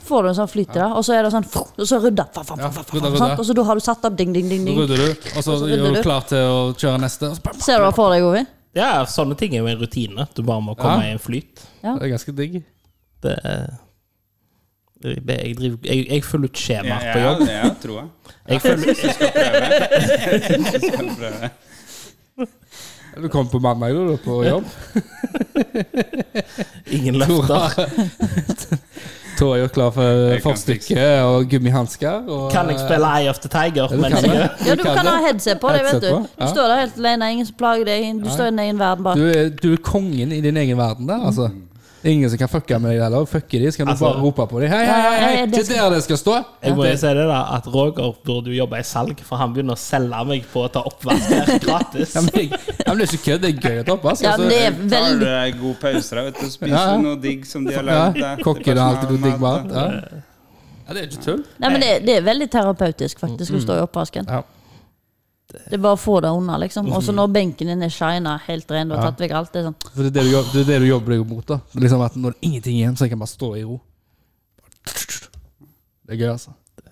Speaker 1: Får du en sånn flyt i det, og så er det sånn fru, Og så rydda. fa, fa, fa,
Speaker 3: Ja,
Speaker 1: fa, fa,
Speaker 3: rydda,
Speaker 1: sant?
Speaker 3: rydda.
Speaker 1: Og så da har du satt opp ding, ding, ding.
Speaker 3: Så
Speaker 1: ding.
Speaker 3: rydder du, og så
Speaker 1: Og så rydder
Speaker 3: gjør
Speaker 1: du.
Speaker 3: du klar til å kjøre neste. Og så, bam,
Speaker 1: Ser du det for deg, Ovi?
Speaker 2: Ja, sånne ting er jo en rutine. Du bare må komme
Speaker 3: Ja.
Speaker 2: i en flyt.
Speaker 3: det er ganske digg.
Speaker 2: Det er det er- jeg, driver, jeg, jeg følger ut
Speaker 4: ja,
Speaker 2: skjemaer på
Speaker 4: ja,
Speaker 2: jobb.
Speaker 4: det ja, tror jeg.
Speaker 2: Jeg følger,
Speaker 4: Du skal prøve. Du skal prøve.
Speaker 3: Du kom på mandag du, du, på jobb.
Speaker 2: ingen løfter.
Speaker 3: Tore har gjort klar for
Speaker 4: Jeg kan
Speaker 3: forstykke og gummihansker. og-
Speaker 2: Kan jeg spille Eye of the Tiger?
Speaker 3: Ja, du
Speaker 2: Men
Speaker 3: kan det.
Speaker 1: Ja, du kan ha headset på det, vet
Speaker 3: Headset
Speaker 1: du.
Speaker 3: på,
Speaker 1: Du
Speaker 3: ja.
Speaker 1: står der helt alene, ingen som plager deg. Du står i din egen verden
Speaker 3: Du
Speaker 1: bare.
Speaker 3: er, du er kongen i din egen verden der, altså. Ingen som kan fucke med deg der. og Fucker de, så kan du
Speaker 2: Altså-
Speaker 3: bare rope på dem. Hei, hei, hei!
Speaker 1: Ja, ja,
Speaker 3: hei
Speaker 1: det
Speaker 3: det er der det skal stå!
Speaker 2: jeg må jo si det da, at Roger burde jo jobbe i salg, for han begynner å selge meg på å ta oppvask her gratis.
Speaker 3: Ja, men, jeg, ja, men det er ikke kødd, det er gøy å ta opp. Altså.
Speaker 1: Ja, men det er
Speaker 4: Tar du
Speaker 1: veldig
Speaker 4: deg god pause da, vet du, spiser
Speaker 3: Ja, ja.
Speaker 4: noe digg som de har lagd
Speaker 3: ja,
Speaker 4: deg.
Speaker 3: Kokker og alltid noe digg mat. Ja.
Speaker 4: Ja.
Speaker 3: ja, det er ikke tull.
Speaker 1: Nei, men det, det er veldig terapeutisk,
Speaker 3: Mm,
Speaker 1: faktisk, å stå i oppvasken.
Speaker 3: Ja.
Speaker 1: Det er bare å få det unna, liksom. Og så når benken din er shina, helt ren, du har
Speaker 3: Mm. Ja.
Speaker 1: tatt vekk alt, det er sånn
Speaker 3: For det er det du, jobb- det er det du jobber deg mot. da Liksom at Når det er ingenting igjen, så jeg kan bare stå i ro. Det er gøy, altså.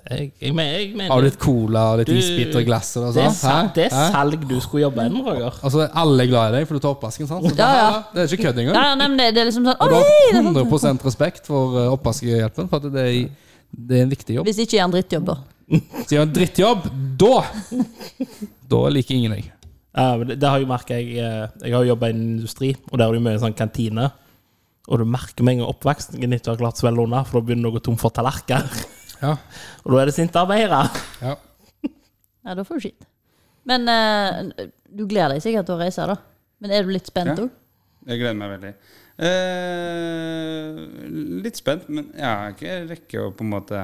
Speaker 2: Jeg, jeg, men- jeg mener
Speaker 3: Har du litt cola og litt
Speaker 2: Du-
Speaker 3: isbiter i glasset? og
Speaker 2: det er,
Speaker 3: sånn?
Speaker 2: sa-
Speaker 3: Hæ?
Speaker 2: det er
Speaker 3: Hæ?
Speaker 2: salg du skulle jobbe innen, Roger.
Speaker 3: Altså, alle er glad i deg, for du tar oppvasken, sant?
Speaker 1: Ja,
Speaker 3: Så bare,
Speaker 1: ja.
Speaker 3: Det er ikke kødd engang.
Speaker 1: Ja, ja, nei, men det, det er liksom sånn Å,
Speaker 3: Og du
Speaker 1: hei!
Speaker 3: har 100 respekt for eh, oppvaskehjelpen, for at det er, det er en viktig jobb.
Speaker 1: Hvis ikke gjør en drittjobb, da.
Speaker 3: Så gjør en drittjobb, da Da liker ingen deg.
Speaker 2: Ja, men det, det har jeg merket jeg, eh, jeg har jobba i en industri, og der har du mye sånn kantine. Og du merker med en gang oppveksten ikke har klart så vel unna, for da begynner du å gå tom for tallerkener.
Speaker 3: Ja.
Speaker 2: Og da er det sinte arbeidere.
Speaker 3: ja.
Speaker 1: Ja, da får du skitt. Men eh, du gleder deg sikkert til å reise, da. Men er du litt spent
Speaker 4: Ja.
Speaker 1: òg?
Speaker 4: Jeg gleder meg veldig. Eh, litt spent, men jeg har ikke rekke å på en måte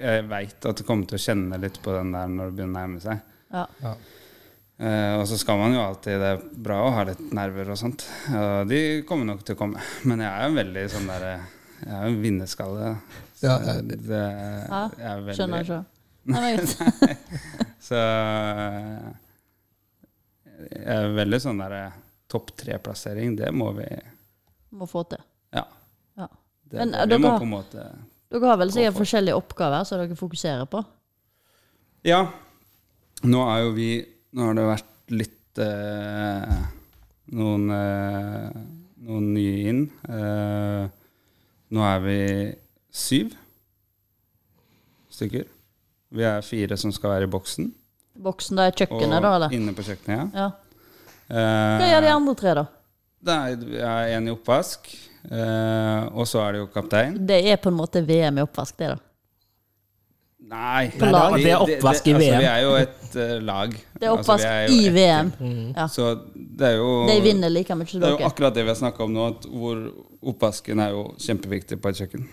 Speaker 4: Jeg veit at du kommer til å kjenne litt på den der når det begynner å nærme seg.
Speaker 1: Ja.
Speaker 4: Eh, og så skal man jo alltid Det er bra å ha litt nerver og sånt. Og de kommer nok til å komme. Men jeg er jo veldig sånn derre Jeg er jo en vinnerskalle. Så
Speaker 3: Ja, ja,
Speaker 4: det,
Speaker 1: Ja,
Speaker 4: jeg er veldig,
Speaker 1: Skjønner ikke. Nei, men greit.
Speaker 4: Så jeg er veldig sånn der eh, topp tre-plassering, det må vi
Speaker 1: Må få til.
Speaker 4: Ja.
Speaker 1: Ja.
Speaker 4: Det,
Speaker 1: Men,
Speaker 4: det,
Speaker 1: eh,
Speaker 4: vi må
Speaker 1: dere-
Speaker 4: på en måte
Speaker 1: Dere har vel
Speaker 4: Gå
Speaker 1: sikkert
Speaker 4: for det.
Speaker 1: forskjellige oppgaver som dere fokuserer på.
Speaker 4: Ja. Nå er jo vi Nå har det vært litt eh, noen, eh, noen nye inn. Eh, nå er vi syv stykker. Vi er fire som skal være i boksen.
Speaker 1: Boksen, da er
Speaker 4: Og
Speaker 1: kjøkkenet, da, eller?
Speaker 4: inne på kjøkkenet, ja.
Speaker 1: Ja.
Speaker 4: Eh,
Speaker 1: Hva gjør de andre tre, da?
Speaker 4: Det er, jeg er en i oppvask, eh, og så er det jo kaptein.
Speaker 1: Det er på en måte VM i oppvask, det, da.
Speaker 4: Nei.
Speaker 1: På lag.
Speaker 4: vi-
Speaker 2: Det er oppvask i
Speaker 4: det- Altså,
Speaker 2: VM.
Speaker 4: vi er jo et eh, lag.
Speaker 1: Det er
Speaker 4: Altså, vi
Speaker 1: oppvask
Speaker 4: er jo
Speaker 1: i
Speaker 4: ett
Speaker 1: VM.
Speaker 2: Mm.
Speaker 1: Ja.
Speaker 4: Så det er jo
Speaker 1: De vinner like mye som
Speaker 4: Det er jo
Speaker 1: dere.
Speaker 4: akkurat det vi har snakka om nå, at hvor oppvasken er jo kjempeviktig på et kjøkken.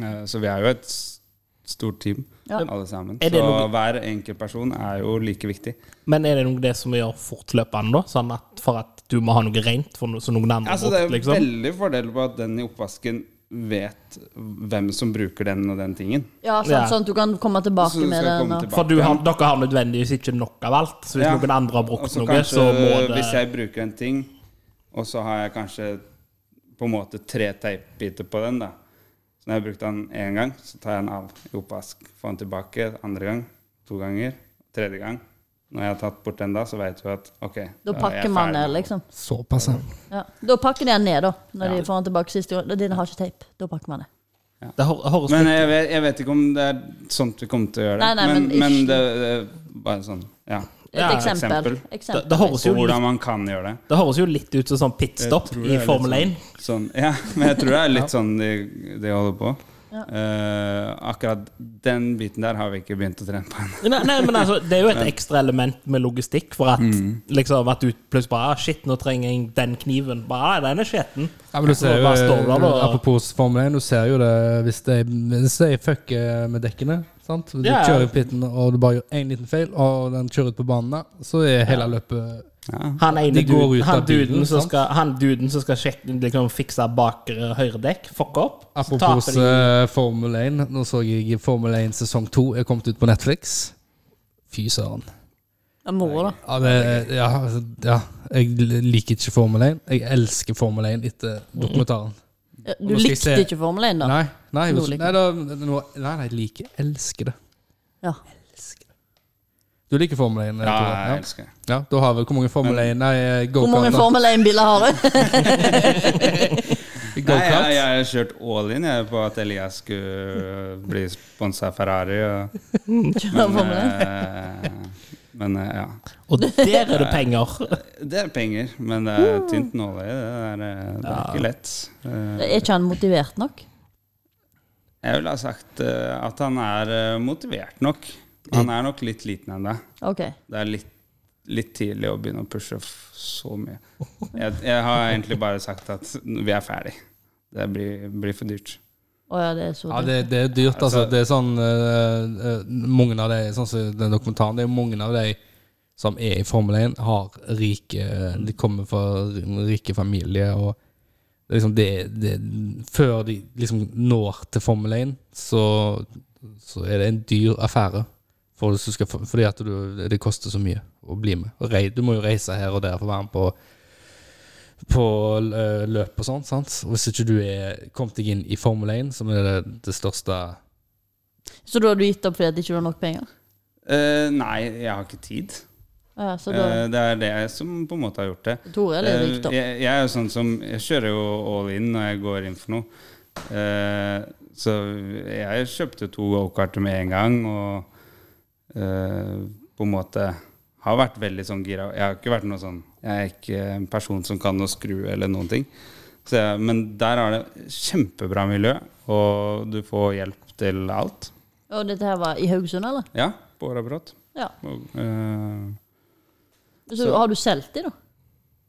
Speaker 4: Eh, Så vi er jo et s- stort team,
Speaker 1: Ja.
Speaker 4: alle sammen.
Speaker 2: Er
Speaker 4: Så
Speaker 2: det noe-
Speaker 4: hver enkelt person er jo like viktig.
Speaker 2: Men er det noe det som vi gjør fortløpende, da? Sånn at for at du må ha noe rent for noe, så noen andre
Speaker 4: Altså, det er
Speaker 2: brukt,
Speaker 4: jo
Speaker 2: liksom?
Speaker 4: veldig fordel på at den i oppvasken vet hvem som bruker den og den tingen.
Speaker 1: Ja, sant,
Speaker 2: Ja.
Speaker 1: sånn at du kan komme tilbake
Speaker 4: Så du
Speaker 1: med
Speaker 4: skal
Speaker 1: det.
Speaker 4: komme
Speaker 1: nå.
Speaker 4: tilbake
Speaker 2: For du har, dere har nødvendigvis ikke nok av alt, så hvis
Speaker 4: Ja.
Speaker 2: noen andre har
Speaker 4: Og
Speaker 2: brukt
Speaker 4: så
Speaker 2: noe,
Speaker 4: kanskje
Speaker 2: så må det
Speaker 4: Hvis jeg bruker en ting, og så har jeg kanskje på en måte tre teipbiter på den, da. Så når jeg har brukt den én gang, så tar jeg den av i oppvask. Får den tilbake andre gang, to ganger, tredje gang. Når jeg har tatt bort den da, så vet du at OK.
Speaker 1: Da pakker man det, liksom.
Speaker 3: Såpass, ja.
Speaker 1: Ja. Da pakker de den ned, da. Når
Speaker 4: Ja.
Speaker 1: de får den tilbake siste gang. Den har ikke teip. Da pakker man det.
Speaker 2: Det hør- høres
Speaker 4: Men jeg vet, jeg vet ikke om det er sånt vi kommer til å gjøre.
Speaker 1: Nei, nei,
Speaker 4: men
Speaker 1: men
Speaker 4: men
Speaker 1: ikke-
Speaker 4: det, det er bare sånn Ja.
Speaker 1: Et
Speaker 2: Ja,
Speaker 1: eksempel.
Speaker 4: eksempel.
Speaker 2: det,
Speaker 1: eksempel.
Speaker 2: det, høres
Speaker 4: På
Speaker 2: jo litt,
Speaker 4: hvordan man kan gjøre det.
Speaker 2: det høres jo litt ut som sånn pitstop
Speaker 4: Jeg tror det
Speaker 2: i
Speaker 4: er litt
Speaker 2: Formel 1.
Speaker 4: Sånn, ja, men jeg tror det er litt sånn de, de holder på.
Speaker 1: Ja.
Speaker 4: Eh, akkurat den biten der har vi ikke begynt å trene på ennå.
Speaker 2: Nei, nei, men altså, Det er jo et ekstra element med logistikk, for at,
Speaker 4: Mm.
Speaker 2: liksom, at du plutselig bare ah, Shit, nå trenger jeg den kniven. Bare, ah, den er skjeten.
Speaker 3: Ja, men du ser
Speaker 2: Og
Speaker 3: jo, eh,
Speaker 2: bare står der, da.
Speaker 3: Apropos Formel 1, du ser jo det hvis de, hvis de fucker eh, med dekkene. sant? Du
Speaker 2: Ja, ja.
Speaker 3: kjører i pitten, og du bare gjør én liten feil, og den kjører ut på banen der, så er hele løpet
Speaker 4: Ja.
Speaker 2: Han ene
Speaker 3: De går
Speaker 2: duden,
Speaker 3: ut av
Speaker 2: han duden,
Speaker 3: bilen,
Speaker 2: som
Speaker 3: sant?
Speaker 2: skal, han duden som skal sjekke, liksom, fikse bakre høyredekk, fucke opp. så
Speaker 3: Apropos
Speaker 2: taper de-
Speaker 3: eh, Formel 1, nå så jeg Formel 1 sesong 2 er kommet ut på Netflix. Fy søren.
Speaker 1: Ja, moro, da.
Speaker 3: Ja, det, ja, altså, ja, jeg liker ikke Formel 1. Jeg elsker Formel 1 etter
Speaker 2: Mm.
Speaker 3: dokumentaren.
Speaker 1: Ja,
Speaker 3: Nå
Speaker 1: Du
Speaker 3: skal jeg
Speaker 1: likte
Speaker 3: se.
Speaker 1: ikke Formel 1, da?
Speaker 3: Nei, nei,
Speaker 1: Nå
Speaker 3: nei,
Speaker 1: liker
Speaker 3: da, nå, nei, nei, jeg liker elsker det.
Speaker 1: Ja.
Speaker 3: Du liker Formel 1?
Speaker 4: Ja,
Speaker 3: Tore?
Speaker 4: jeg elsker det.
Speaker 3: Ja, da har vi Hvor mange Formel 1 Nei, eh,
Speaker 1: Hvor mange
Speaker 3: go-kart.
Speaker 1: Formel E? 1-biler har du?
Speaker 3: da.
Speaker 4: Nei, jeg,
Speaker 3: Go-kart.
Speaker 4: jeg har kjørt all in jeg, på at Elias skulle bli sponsa av Ferrari. Og, men,
Speaker 1: Formel
Speaker 4: eh, men eh, ja.
Speaker 2: Og der er det penger!
Speaker 4: Det er penger, men det er tynt nåløye. Det, er, eh, det er ikke lett. Eh,
Speaker 1: Er ikke han motivert nok?
Speaker 4: Jeg ville ha sagt eh, at han er eh, motivert nok. Han er nok litt liten ennå.
Speaker 1: Ok.
Speaker 4: Det er litt, litt tidlig å begynne å pushe f- så mye. Jeg, jeg har egentlig bare sagt at vi er ferdig. Det blir, blir for dyrt.
Speaker 1: Å ja, det er så
Speaker 3: Ja, det, det er dyrt, altså.
Speaker 4: Altså-
Speaker 3: Det er sånn eh, eh, Mange av de Sånn som den dokumentaren, det er mange av de som er i Formel 1, har rike De kommer fra rike familier, og det er liksom det, det Før de liksom når til Formel 1, så, så er det en dyr affære. For hvis du skal, få- fordi at du, det koster så mye å bli med. Og rei, du må jo reise her og der for å være med på på eh, løp og sånn. sant? Og Hvis ikke du er kommet deg inn i Formel 1, som er det, det største
Speaker 1: Så da har du gitt opp fordi det ikke var nok penger?
Speaker 4: Eh, nei, jeg har ikke tid.
Speaker 1: Å Ja, så da,
Speaker 4: Eh, det er det som på en måte har gjort det.
Speaker 1: Tore er litt rikt
Speaker 4: Eh,
Speaker 1: opp.
Speaker 4: jeg, jeg er jo sånn som Jeg kjører jo all in når jeg går inn for noe. Eh, så jeg kjøpte to gokarter med en gang, og eh, på en måte har vært veldig sånn gira. Jeg har ikke vært noe sånn Jeg er ikke en person som kan å skru eller noen ting. Så jeg, men der har det kjempebra miljø, og du får hjelp til alt.
Speaker 1: Og dette her var i Haugesund, eller?
Speaker 4: Ja, på Årabrot.
Speaker 1: Ja.
Speaker 4: Og, eh,
Speaker 1: Så,
Speaker 4: Så-
Speaker 1: har du solgt de, da?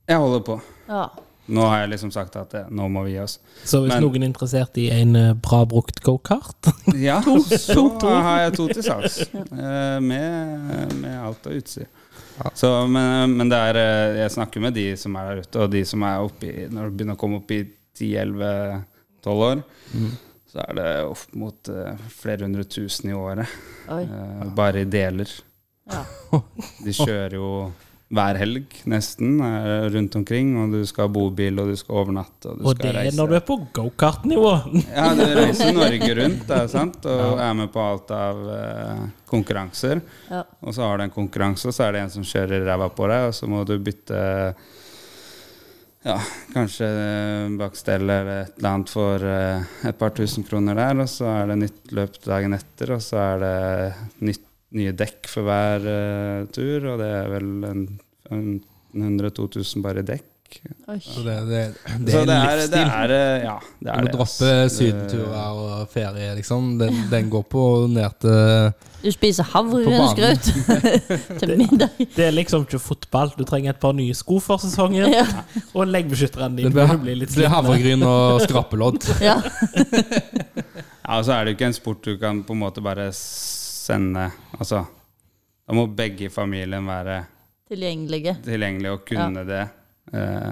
Speaker 4: jeg holder på.
Speaker 1: Ja.
Speaker 4: Nå har jeg liksom sagt at eh, nå må vi gi oss.
Speaker 2: Så hvis
Speaker 4: Men-
Speaker 2: noen er interessert i en eh, bra brukt gokart
Speaker 4: Ja, så har jeg to til salgs. eh, Med, med alt av utstyr. Så, men, men det er, eh, jeg snakker med de som er der ute, og de som er oppi, når du begynner å komme opp i 10-11-12 år,
Speaker 2: Mm.
Speaker 4: så er det opp mot eh, flere hundre tusen i året.
Speaker 1: Oi.
Speaker 4: eh, Bare i deler.
Speaker 1: Ja.
Speaker 4: De kjører jo hver helg, nesten, eh, rundt omkring. Og du skal ha bobil, og du skal overnatte, og du
Speaker 2: Og det
Speaker 4: skal
Speaker 2: er
Speaker 4: reise.
Speaker 2: når du er på gokartnivå!
Speaker 4: Ja, du reiser Norge rundt det er sant? og er med på alt av eh, konkurranser.
Speaker 1: Ja.
Speaker 4: Og så har du en konkurranse, og så er det en som kjører ræva på deg, og så må du bytte ja, kanskje eh, bakstell eller et eller annet for eh, et par tusen kroner der, og så er det nytt løp dagen etter, og så er det nytt, nye dekk for hver eh, tur, og det er vel en, en 100 2000 bare i dekk. bak.
Speaker 1: Oi.
Speaker 3: Så det, det, det er
Speaker 4: Så
Speaker 3: en
Speaker 4: det er,
Speaker 3: livsstil.
Speaker 4: det er eh, Ja, det
Speaker 3: Du
Speaker 4: er
Speaker 3: må
Speaker 4: det.
Speaker 3: droppe
Speaker 4: ass.
Speaker 3: sydenturer og ferie, liksom. Den, den går på ned til
Speaker 1: Du spiser
Speaker 3: På banen.
Speaker 1: havregrynsgrøt til middag.
Speaker 2: Det er liksom ikke fotball. Du trenger et par nye sko for sesongen.
Speaker 1: Ja.
Speaker 2: Og leggbeskytterne
Speaker 3: Det
Speaker 2: dine
Speaker 3: blir,
Speaker 2: blir, blir litt
Speaker 3: blir
Speaker 2: slitne.
Speaker 3: havregryn og skrapelodd.
Speaker 1: Ja.
Speaker 4: Ja, og så er det jo ikke en sport du kan på en måte bare sende Altså, da må begge i familien være
Speaker 1: Tilgjengelige.
Speaker 4: tilgjengelig og kunne det. Eh,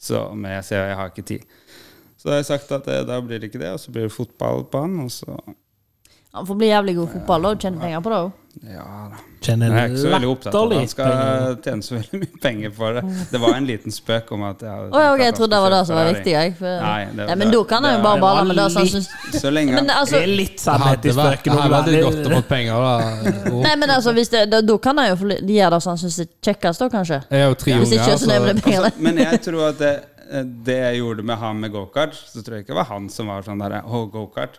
Speaker 4: så, men jeg ser jeg har ikke tid. Så da har jeg sagt at eh, da blir det ikke det, og så blir det fotball på han, og så
Speaker 1: Han får bli jævlig god i fotball og tjene penger på det òg.
Speaker 4: Ja da.
Speaker 2: Kjenner
Speaker 4: Men jeg er ikke så veldig opptatt av at
Speaker 2: latterlig
Speaker 4: han
Speaker 2: penger.
Speaker 4: skal tjene så veldig mye penger for det. Det var en liten spøk om at jeg, hadde
Speaker 1: Å ja, ok,
Speaker 4: tenkt at
Speaker 1: jeg
Speaker 4: han
Speaker 1: trodde det
Speaker 4: skulle
Speaker 1: var det som var
Speaker 4: kjøpe Ferrari.
Speaker 1: viktig. Jeg, for...
Speaker 4: Nei, det-
Speaker 1: Nei, men da kan jeg jo
Speaker 4: det-
Speaker 1: bare
Speaker 2: det
Speaker 1: bale
Speaker 2: var
Speaker 1: med det som synes
Speaker 4: Så lenge
Speaker 1: Men
Speaker 4: han
Speaker 2: Det
Speaker 1: altså
Speaker 2: er litt
Speaker 3: Det
Speaker 2: sannhet i
Speaker 3: hadde vært,
Speaker 2: spøken.
Speaker 3: det hadde
Speaker 2: Olav.
Speaker 3: vært godt å få penger, da. Oh. Og
Speaker 1: Nei, men altså, hvis det, da, da kan jeg jo få li- gjøre det som han syns er kjekkest, da, kanskje.
Speaker 3: jeg har jo tre
Speaker 1: Hvis ikke,
Speaker 3: unger,
Speaker 4: altså-
Speaker 1: så nevner jeg
Speaker 3: så
Speaker 1: pengene.
Speaker 4: Men jeg tror at det, det jeg gjorde med han med gokart, så tror jeg ikke det var han som var sånn der Å, gokart.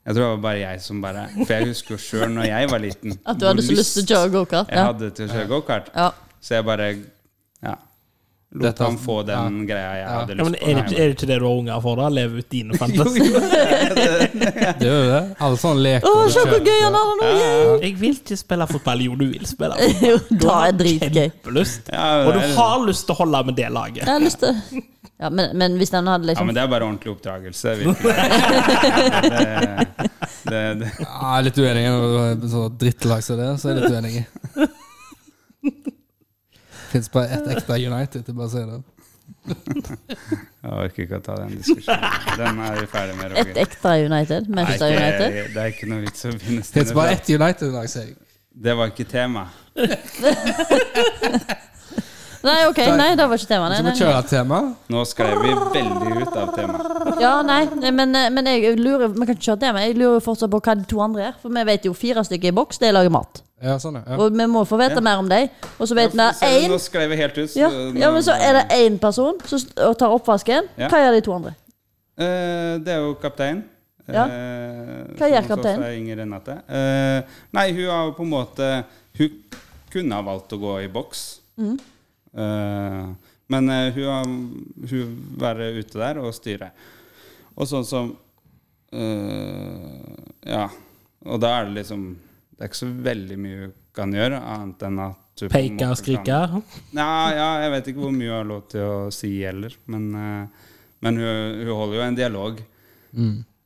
Speaker 4: Jeg tror det var bare jeg som bare For jeg husker jo sjøl når jeg var liten
Speaker 1: At du hadde
Speaker 4: hvor
Speaker 1: så lyst til å kjøre gokart.
Speaker 4: Jeg
Speaker 1: Ja.
Speaker 4: hadde til å kjøre gokart.
Speaker 1: Ja.
Speaker 4: Så jeg bare Ja. Lot
Speaker 3: Dette-
Speaker 4: han få den greia jeg hadde
Speaker 2: Ja, men
Speaker 4: lyst
Speaker 2: er det,
Speaker 4: på.
Speaker 2: ikke- er det ikke det du har unger for? da? Leve ut dine fantasier?
Speaker 3: det er jo det. Alle sånne
Speaker 1: Å,
Speaker 3: leker.
Speaker 1: se hvor gøy han har det nå! yay!
Speaker 2: Jeg vil ikke spille fotball. Jo, du vil spille fotball.
Speaker 1: Jo, da er dritgøy.
Speaker 2: Kjempelyst.
Speaker 4: Ja, men
Speaker 2: Og du
Speaker 4: det er-
Speaker 2: har lyst til å holde med det laget.
Speaker 1: Jeg har lyst til ja, men, men hvis den hadde
Speaker 4: Ja,
Speaker 1: liksom
Speaker 4: men det er bare ordentlig oppdragelse. Virkelig. Det, det, det.
Speaker 3: Ja, jeg er litt uenig. Når det er Så drittlag som det, er, så er jeg litt uenig. Fins bare ett ekte United. Jeg bare sier det.
Speaker 4: Jeg orker ikke å ta den diskusjonen. Den er vi ferdig med,
Speaker 1: et
Speaker 4: Roger.
Speaker 1: ekte United, Manchester
Speaker 4: Nei,
Speaker 1: United.
Speaker 4: ikke- det er ikke noe vits å begynne
Speaker 3: Fins
Speaker 4: for
Speaker 3: bare ett United-lag, sier jeg.
Speaker 4: Det var ikke tema.
Speaker 1: Nei, ok, nei, det var ikke temaet.
Speaker 3: Så
Speaker 1: Nei,
Speaker 3: vi
Speaker 1: nei.
Speaker 3: kjører et tema.
Speaker 4: Nå sklei vi veldig ut av temaet.
Speaker 1: Ja, nei, nei, men, men jeg lurer Vi kan ikke kjøre det, men jeg lurer fortsatt på hva de to andre er. For vi vet jo fire stykker i boks, de lager mat.
Speaker 3: Ja, sånn, ja.
Speaker 1: Og vi må få vite
Speaker 4: Ja.
Speaker 1: mer om dem. Og så vet vi
Speaker 4: Ja, for ser du,
Speaker 1: én
Speaker 4: Nå sklei vi helt ut. så
Speaker 1: ja,
Speaker 4: nå-
Speaker 1: ja, men så er det én person som st- og tar oppvasken.
Speaker 4: Ja.
Speaker 1: Hva gjør de to andre?
Speaker 4: Eh, Det er jo kaptein.
Speaker 1: Ja.
Speaker 4: Eh,
Speaker 1: Hva gjør
Speaker 4: som også
Speaker 1: kaptein?
Speaker 4: er Inger Renate. Eh, Nei, hun har jo på en måte Hun kunne ha valgt å gå i boks.
Speaker 1: Mm.
Speaker 4: Eh, Men eh, hun har hun være ute der og styre. Og sånn som eh, Ja. Og da er det liksom Det er ikke så veldig mye hun kan gjøre, annet enn at du på en
Speaker 2: Peke og
Speaker 4: måte kan-
Speaker 2: skrike.
Speaker 4: Nei, ja, jeg vet ikke hvor mye hun har lov til å si heller, men, eh, men hun, hun holder jo en dialog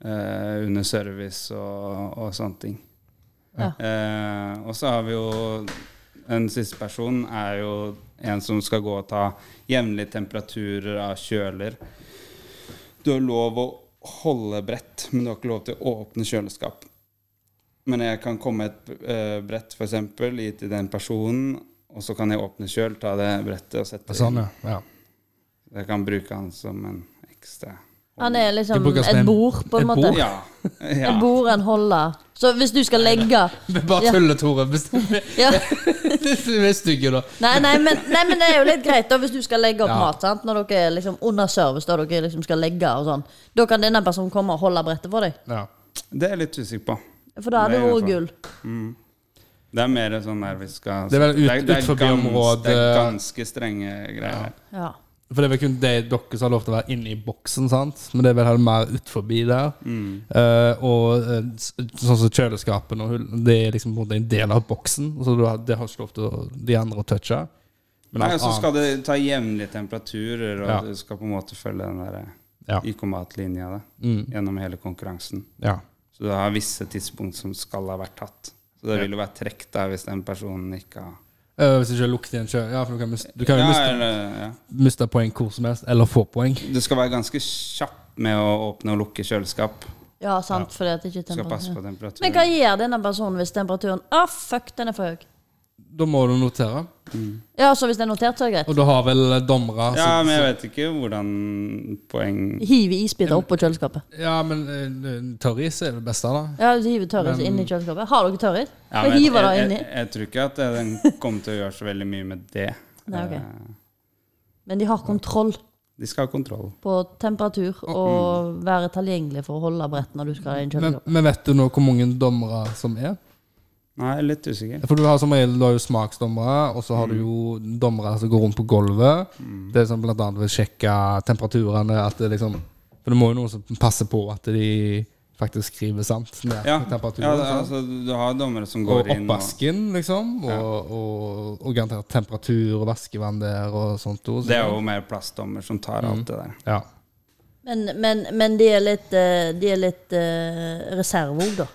Speaker 4: eh, under service og, og sånne ting.
Speaker 1: Ja.
Speaker 4: Eh, og så har vi jo En siste person er jo en som skal gå og ta jevnlige temperaturer av kjøler. Du har lov å holde brett, men du har ikke lov til å åpne kjøleskap. Men jeg kan komme et eh, brett, f.eks., gi til den personen, og så kan jeg åpne kjøl, ta det brettet og sette det
Speaker 3: Sånn,
Speaker 4: inn.
Speaker 3: ja. ja.
Speaker 4: Jeg kan bruke han som en ekstra
Speaker 1: Han er liksom
Speaker 3: De bruker som
Speaker 1: et
Speaker 3: en-
Speaker 1: bord, på en
Speaker 3: et
Speaker 1: måte.
Speaker 3: bord?
Speaker 4: Ja. ja.
Speaker 1: Et bord, en holder. Så hvis du skal legge
Speaker 3: Vi bare
Speaker 1: Ja.
Speaker 3: tuller, Tore. Hvis
Speaker 1: ja.
Speaker 3: vi er stygge, da.
Speaker 1: nei, nei, men, nei, men det er jo litt greit, da, hvis du skal legge opp
Speaker 3: Ja.
Speaker 1: mat. sant? Når dere er liksom under service, da dere liksom skal legge og sånn. Da kan denne personen komme og holde brettet for deg.
Speaker 3: Ja.
Speaker 4: Det er jeg litt usikker på.
Speaker 1: For da hadde det
Speaker 4: Nei,
Speaker 1: vært
Speaker 4: for-
Speaker 1: gull.
Speaker 4: Det er mer sånn der vi skal
Speaker 3: Det er vel ut-
Speaker 4: det er
Speaker 3: utenfor
Speaker 4: gans-
Speaker 3: området.
Speaker 4: Det er ganske strenge greier.
Speaker 1: Ja.
Speaker 3: For det er vel kun de, dere som har lov til å være inne i boksen, sant? men det er vel her mer ut forbi der. Eh, og eh, s- sånn som kjøleskapene og hull, det er liksom på en måte en del av boksen, så du har, det har ikke lov til å, de andre å touche.
Speaker 4: Nei,
Speaker 3: alt
Speaker 4: og så
Speaker 3: annet-
Speaker 4: skal det ta jevnlige temperaturer, og
Speaker 3: Ja.
Speaker 4: du skal på en måte følge den der
Speaker 3: Ja.
Speaker 4: IK-matlinja da,
Speaker 3: Mm,
Speaker 4: gjennom hele konkurransen.
Speaker 3: ja.
Speaker 4: Så du har visse tidspunkt som skal ha vært tatt. Så det vil jo være trekk der hvis den personen ikke har
Speaker 3: Eh, hvis du ikke lukter igjen kjø... Ja, for du kan, mist, du kan jo
Speaker 4: ja,
Speaker 3: miste,
Speaker 4: eller, ja.
Speaker 3: miste poeng hvor som helst, eller få poeng.
Speaker 4: Du skal være ganske kjapp med å åpne og lukke kjøleskap.
Speaker 1: ja, sant. Fordi at ikke
Speaker 4: Du skal passe
Speaker 1: temperaturen
Speaker 4: på temperaturen.
Speaker 1: Men hva gjør denne personen hvis temperaturen Å, fuck, den er for høy.
Speaker 3: Da må du notere,
Speaker 1: Ja, så hvis det er notert, så er det greit.
Speaker 3: og du har vel dommere
Speaker 4: Ja,
Speaker 3: som-
Speaker 4: men jeg vet ikke hvordan poeng
Speaker 1: Hiv isbiter oppå kjøleskapet.
Speaker 3: ja, men eh, tørris er det beste, da.
Speaker 1: Ja, du hiver tørris inn i kjøleskapet. Har dere tørris?
Speaker 4: ja,
Speaker 1: Vi
Speaker 4: men jeg,
Speaker 1: hiver det
Speaker 4: jeg,
Speaker 1: inni.
Speaker 4: jeg, jeg tror ikke at den kommer til å gjøre så veldig mye med det.
Speaker 1: Nei, ok.
Speaker 4: Eh,
Speaker 1: Men de har kontroll
Speaker 4: De skal ha kontroll.
Speaker 1: på temperatur
Speaker 4: Mm.
Speaker 1: og være tilgjengelig for å holde brett når du skal inn i
Speaker 3: Men,
Speaker 1: kjøleskapet.
Speaker 3: men vet du nå hvor mange dommere som er?
Speaker 4: Nei, litt usikker.
Speaker 3: For du har som regel du har jo smaksdommere, og så har du jo dommere som går rundt på gulvet.
Speaker 4: Mm.
Speaker 3: Det er sånn blant annet vil sjekke temperaturene at det liksom, For det må jo noen som passer på at de faktisk skriver sant. Ned
Speaker 4: Ja,
Speaker 3: på
Speaker 4: ja
Speaker 3: temperaturen, sant?
Speaker 4: altså, du har dommere som går
Speaker 3: og
Speaker 4: inn og
Speaker 3: oppvasken, liksom. Og, og, og garantert temperatur og vaskevann der og sånt. Også.
Speaker 4: Det er jo mer plastdommer som tar alt det der.
Speaker 3: Ja.
Speaker 1: Men, men, men de er litt, eh, de er litt eh, reserve òg, da.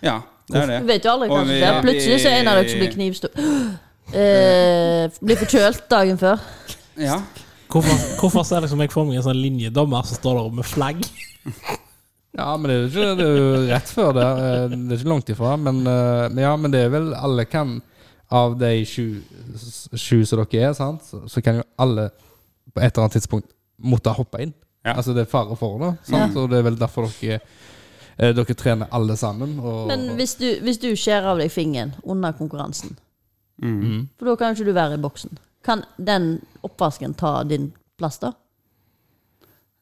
Speaker 4: Ja, det er det.
Speaker 1: Du vet jo aldri,
Speaker 4: Og
Speaker 1: kanskje.
Speaker 4: vi-
Speaker 1: det er Plutselig så er en av dere som blir knivstukket. Eh, blir forkjølt dagen før.
Speaker 4: Ja.
Speaker 2: Hvorfor, hvorfor ser liksom jeg for meg en sånn linjedommer som står der med flagg?
Speaker 3: ja, men det er jo ikke det er jo rett før det. eh, Det er ikke langt ifra. Men, eh, men ja, men det er vel alle kan Av de sju, sju som dere er, sant, så, så kan jo alle på et eller annet tidspunkt måtte hoppe inn.
Speaker 4: Ja. Mm.
Speaker 3: Altså det er fare for det. Sant? Og det er vel derfor dere eh, dere trener alle sammen. Og,
Speaker 1: Men hvis du, hvis du skjærer av deg fingeren under konkurransen,
Speaker 4: Mm.
Speaker 1: for da kan jo ikke du være i boksen, kan den oppvasken ta din plass, da?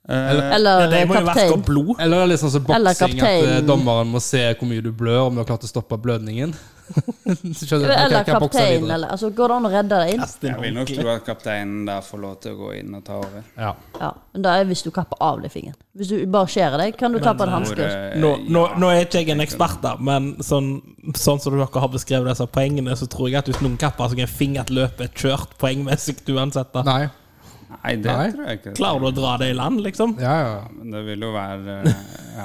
Speaker 4: Eh,
Speaker 1: Eller
Speaker 2: det må jo vaske
Speaker 1: kaptein?
Speaker 2: opp blod.
Speaker 3: Eller det er litt sånn som
Speaker 1: Eller
Speaker 3: boksing, at eh,
Speaker 1: kaptein.
Speaker 3: dommeren må se hvor mye du blør, om du har klart å stoppe blødningen. Skjønner du?
Speaker 1: Eller
Speaker 3: Ok, kan bokse
Speaker 1: kaptein?
Speaker 3: videre.
Speaker 1: Eller, altså, går det an å redde deg inn?
Speaker 2: Kaste inn
Speaker 4: jeg vil nok
Speaker 2: ordentlig.
Speaker 4: tro at kapteinen da får lov til å gå inn og ta over.
Speaker 3: Ja.
Speaker 1: Ja, men da er hvis du kapper av deg fingeren. Hvis du bare skjærer deg, kan du kappe en hanske.
Speaker 4: Hvor, eh,
Speaker 2: Nå, nå,
Speaker 4: ja.
Speaker 2: nå er ikke jeg en ekspert, da, men sånn, sånn som dere har beskrevet disse poengene, så tror jeg at hvis noen kapper seg en finger til løpet, er kjørt poengmessig uansett. da
Speaker 3: Nei.
Speaker 4: Nei, det
Speaker 3: Nei.
Speaker 4: tror jeg ikke.
Speaker 2: Klarer du å dra det i land, liksom?
Speaker 3: Ja, ja. ja.
Speaker 4: Men det vil jo være eh, ja.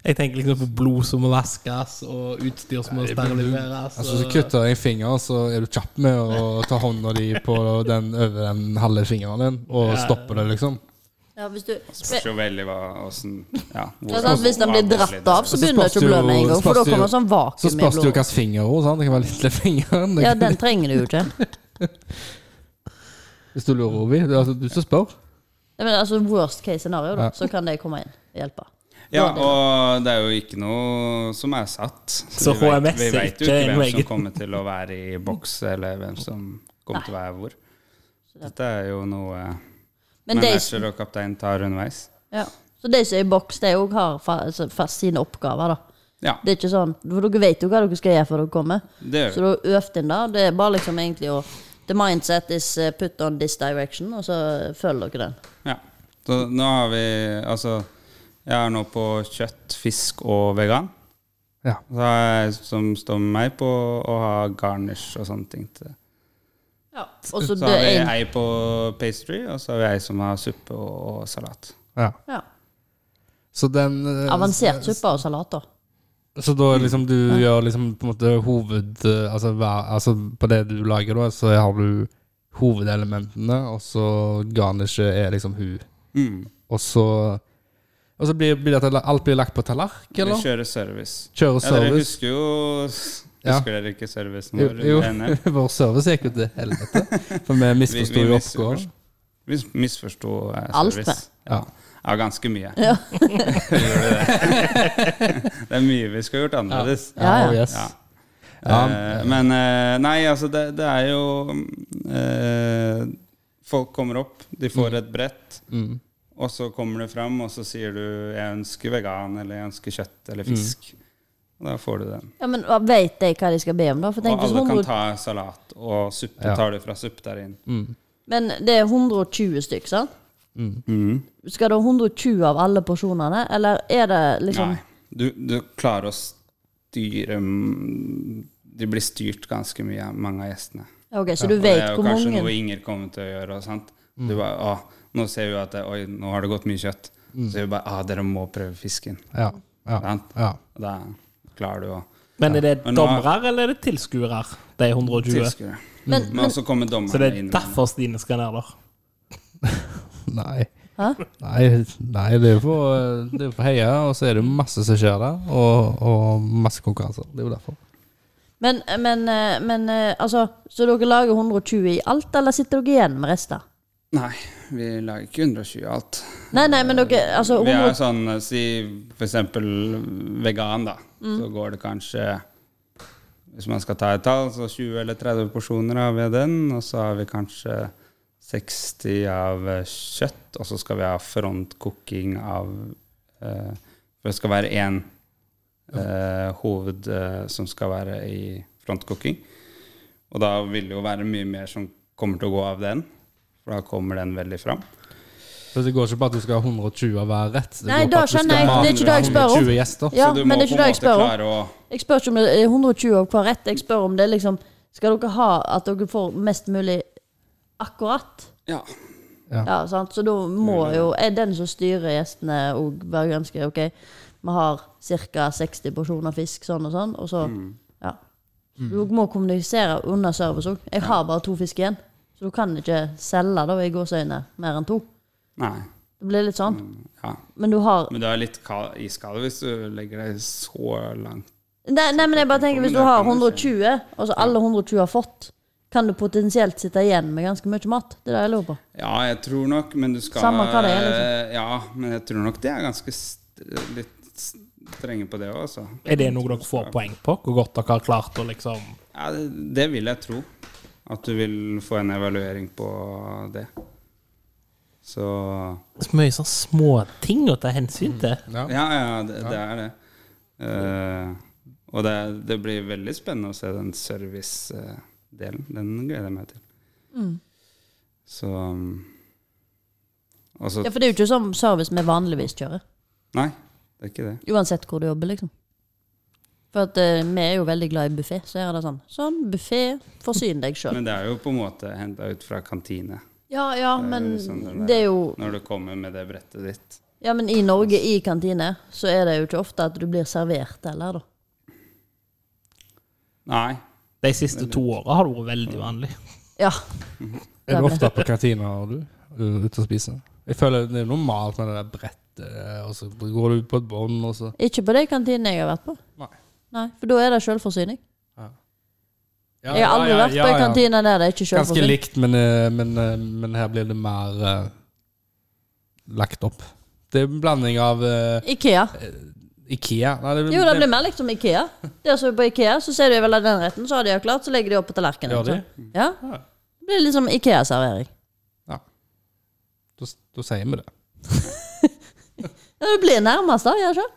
Speaker 2: Jeg tenker liksom på blod som må vaskes, og utstyr som må steriliseres.
Speaker 3: Altså, så
Speaker 2: og-
Speaker 3: kutter jeg en finger, så er du kjapp med å ta hånda di på den over den halve fingeren din, og stopper det, liksom.
Speaker 1: Ja, hvis du...
Speaker 4: Spørs jo veldig hva åssen ja, hvor-
Speaker 1: Ja, sant? Hvis den blir
Speaker 4: hva
Speaker 1: dratt av, så
Speaker 3: Så
Speaker 1: begynner det ikke å blø
Speaker 3: spørs det jo-
Speaker 1: med en gang. For
Speaker 3: spørs
Speaker 1: da
Speaker 3: det jo-
Speaker 1: kommer det sånn
Speaker 3: Så
Speaker 1: vakuum i
Speaker 3: spørs det jo
Speaker 1: blodet.
Speaker 3: hvilken finger også, sant? Det kan være lille fingeren. Det
Speaker 1: Ja,
Speaker 3: kan,
Speaker 1: den trenger du jo ikke.
Speaker 3: Hvis du lurer, Ovi. Det er altså du som spør.
Speaker 1: Nei, Men altså worst case scenario, da,
Speaker 3: Ja.
Speaker 1: så kan de komme inn og hjelpe.
Speaker 4: Ja, og det er jo ikke noe som er satt.
Speaker 2: Så
Speaker 4: vi vet,
Speaker 2: HMS
Speaker 4: vi
Speaker 2: er
Speaker 4: vet jo
Speaker 2: ikke
Speaker 4: ikke
Speaker 2: en
Speaker 4: hvem
Speaker 2: egen-
Speaker 4: som kommer til å være i boks, eller hvem som kommer til å være hvor. Dette er jo noe
Speaker 1: Men de,
Speaker 4: manager og kaptein tar underveis.
Speaker 1: ja. Så de som er i boks, de òg har fa altså, fast sine oppgaver, da.
Speaker 4: Ja,
Speaker 1: Det er ikke sånn For dere vet jo hva dere skal gjøre før dere kommer.
Speaker 4: det gjør
Speaker 1: Så
Speaker 4: vi.
Speaker 1: da øvde inn da. Det er bare liksom egentlig å The mindset is eh, put on this direction, og så følger dere den.
Speaker 4: Ja. Så nå har vi Altså, jeg er nå på kjøtt, fisk og vegan.
Speaker 3: Ja.
Speaker 4: Så har jeg som står med meg på å ha garnish og sånne ting til det.
Speaker 1: Ja. Og så
Speaker 4: Så
Speaker 1: det
Speaker 4: har vi
Speaker 1: er en
Speaker 4: ei på pastry, og så har vi ei som har suppe og, og salat.
Speaker 3: Ja.
Speaker 1: ja.
Speaker 3: Så den eh,
Speaker 1: Avansert suppe og salat, da.
Speaker 3: Så da
Speaker 4: Mm.
Speaker 3: liksom du gjør liksom på en måte hoved eh, altså, hver, altså på det du lager da, så har du hovedelementene, og så garnishet er liksom hun.
Speaker 4: Mm.
Speaker 3: Og så Og så blir, blir det at alt blir lagt på tallerken,
Speaker 4: Vi
Speaker 3: eller?
Speaker 4: kjører service.
Speaker 3: Kjører
Speaker 4: Ja, dere
Speaker 3: service.
Speaker 4: husker jo Husker dere ikke servicen vår?
Speaker 3: jo,
Speaker 4: under NM?
Speaker 3: vår service gikk jo til helvete, for vi misforsto
Speaker 4: Vi- vi
Speaker 3: jo
Speaker 4: misforstår.
Speaker 3: oppgaven.
Speaker 4: Vi misforsto eh,
Speaker 1: Alt,
Speaker 4: service.
Speaker 3: Ja.
Speaker 4: Ja, ganske mye. Gjorde det. det er mye vi skulle gjort annerledes.
Speaker 1: Ja, ja.
Speaker 3: Oh, yes.
Speaker 4: Ja.
Speaker 3: Ja.
Speaker 4: Eh, men eh, nei, altså det, det er jo eh, Folk kommer opp, de får et brett,
Speaker 3: Mm.
Speaker 4: og så kommer du fram, og så sier du 'jeg ønsker vegan', eller 'jeg ønsker kjøtt'
Speaker 3: Mm.
Speaker 4: eller 'fisk'. Og da får du den.
Speaker 1: Ja, Men hva- vet de hva de skal be om, da? For
Speaker 4: Og
Speaker 1: tenk, hvis
Speaker 4: alle kan
Speaker 1: 100,
Speaker 4: ta salat, og suppe
Speaker 3: Ja.
Speaker 4: tar du fra suppe der inn.
Speaker 2: Mm.
Speaker 1: men det er 120 stykk, sant?
Speaker 4: Mm.
Speaker 1: Skal det ha 120 av alle porsjonene, eller er det liksom
Speaker 4: Nei. Du, du klarer å styre mm, De blir styrt ganske mye, mange av gjestene.
Speaker 1: Ok, så du
Speaker 4: Og det
Speaker 1: vet
Speaker 4: er jo
Speaker 1: hvor
Speaker 4: kanskje
Speaker 1: mange
Speaker 4: noe Inger kommer til å gjøre. og Sant?
Speaker 2: Mm.
Speaker 4: Du bare, «Å, nå ser vi jo at det, Oi, nå har det gått mye kjøtt.
Speaker 2: Mm.
Speaker 4: Så vi bare ah, dere må prøve fisken.
Speaker 3: Ja. Ja.
Speaker 4: Sant?
Speaker 3: ja.
Speaker 4: Og Da klarer du å
Speaker 2: Men er det
Speaker 4: Men nå-
Speaker 2: dommere, eller er det tilskuere, de 120?
Speaker 4: tilskue.
Speaker 1: Men-
Speaker 4: Men også kommer dommerne
Speaker 2: Så det er
Speaker 4: inn.
Speaker 2: derfor Stine skal ned der.
Speaker 3: Nei.
Speaker 1: Hæ?
Speaker 3: Nei, nei, det er jo for, eh, det er jo for heia, og så er det jo masse som skjer der, og, og masse konkurranser. Det er jo derfor.
Speaker 1: Men, men, eh, men eh, altså Så dere lager 120 i alt, eller sitter dere igjen med resten?
Speaker 4: Nei, vi lager ikke 120 av alt.
Speaker 1: Nei, nei, men dere Altså,
Speaker 4: Vi er
Speaker 1: 100,
Speaker 4: sånn, eh, si for eksempel vegan, da.
Speaker 1: Mm.
Speaker 4: Så går det kanskje Hvis man skal ta et tall, så 20 eller 30 porsjoner har vi av den. Og så har vi kanskje 60 av eh, kjøtt, og så skal vi ha frontkokking av eh, For det skal være én eh, hoved eh, som skal være i frontcooking. Og da vil det jo være mye mer som kommer til å gå av den, for da kommer den veldig fram.
Speaker 3: For Det går ikke på at du skal ha 120 av hver rett. Det
Speaker 1: Nei,
Speaker 3: går på
Speaker 1: da
Speaker 3: at du skal
Speaker 1: skjønner jeg.
Speaker 3: ha
Speaker 4: Det er ikke det jeg
Speaker 1: spør om.
Speaker 3: 120 gjester.
Speaker 1: Ja,
Speaker 4: Så du
Speaker 1: men
Speaker 4: må
Speaker 1: det er ikke
Speaker 4: på en
Speaker 1: det jeg
Speaker 4: måte
Speaker 1: spør om.
Speaker 4: klare å
Speaker 1: Jeg spør ikke om det er 120 av hver rett. Jeg spør om det er liksom Skal dere ha at dere får mest mulig akkurat?
Speaker 4: Ja.
Speaker 3: Ja.
Speaker 1: Ja, sant? Så da må jo er den som styrer gjestene, og være ganske OK. Vi har ca. 60 porsjoner fisk, sånn og sånn, og så
Speaker 3: Mm.
Speaker 1: Ja. Du må kommunisere under service òg. Jeg har bare to fisk igjen. Så du kan ikke selge da i gåseøyne mer enn to.
Speaker 4: Nei.
Speaker 1: Det blir litt sånn.
Speaker 3: Mm.
Speaker 4: Ja.
Speaker 1: Men du har
Speaker 4: Men du er litt kald- iskald hvis du legger deg så langt.
Speaker 1: Nei, nei, men jeg bare tenker Hvis du har 120, og så alle 120 har fått, kan du potensielt sitte igjen med ganske mye mat? Det er det jeg lurer på.
Speaker 4: Ja, jeg tror nok, men du skal eh,
Speaker 1: Samme hva det er, liksom.
Speaker 4: Ja, men jeg tror nok det er ganske st litt strenge på det òg, altså.
Speaker 2: Er det noe dere får poeng på? Hvor godt dere har klart å liksom
Speaker 4: Ja, det, det vil jeg tro. At du vil få en evaluering på det. Så
Speaker 2: Så mye sånn småting å ta hensyn til.
Speaker 3: Mm.
Speaker 4: Ja, ja, det, det er det. Eh, og det, det blir veldig spennende å se den service-delen. Den gleder jeg meg til. Så um, Og så
Speaker 1: Ja, For det er jo ikke sånn service vi vanligvis kjører.
Speaker 4: Nei, det er ikke det.
Speaker 1: Uansett hvor du jobber, liksom. For at eh, vi er jo veldig glad i buffé. Så er det sånn Sånn, buffé, forsyn deg sjøl.
Speaker 4: Men det er jo på en måte henta ut fra kantine
Speaker 1: Ja, ja,
Speaker 4: Det er
Speaker 1: men
Speaker 4: jo sånn det er.
Speaker 1: det er jo
Speaker 4: når du kommer med det brettet ditt.
Speaker 1: Ja, men i Norge, i kantine, så er det jo ikke ofte at du blir servert heller, da.
Speaker 4: Nei.
Speaker 2: De siste to åra har det vært veldig vanlig.
Speaker 1: Ja.
Speaker 3: Er du ofte på kantina og du er ute og spiser? Jeg føler det er normalt med det der brettet, og så går du på et bånd, og så
Speaker 1: Ikke på de kantinene jeg har vært på.
Speaker 3: Nei.
Speaker 1: Nei, For da er det sjølforsyning.
Speaker 3: Ja,
Speaker 1: Jeg har aldri
Speaker 3: ja, ja,
Speaker 1: vært på
Speaker 3: ja,
Speaker 1: en
Speaker 3: ja.
Speaker 1: kantine der det er ikke er
Speaker 3: Ganske
Speaker 1: sjølforsyning.
Speaker 3: likt, men, eh, men, eh, men her blir det mer eh, lagt opp. Det er en blanding av eh,
Speaker 1: Ikea.
Speaker 3: Ikea Nei, det,
Speaker 1: Jo, det blir mer likt som Ikea. Der som er på Ikea, så ser du vel at den retten, så har de jo klart, så legger de opp på tallerkenen.
Speaker 3: Gjør de?
Speaker 1: ikke sant? Ja. Det blir liksom Ikea-servering.
Speaker 3: Da, da sier vi det.
Speaker 1: Ja, det blir nærmest, da. gjør det ikke?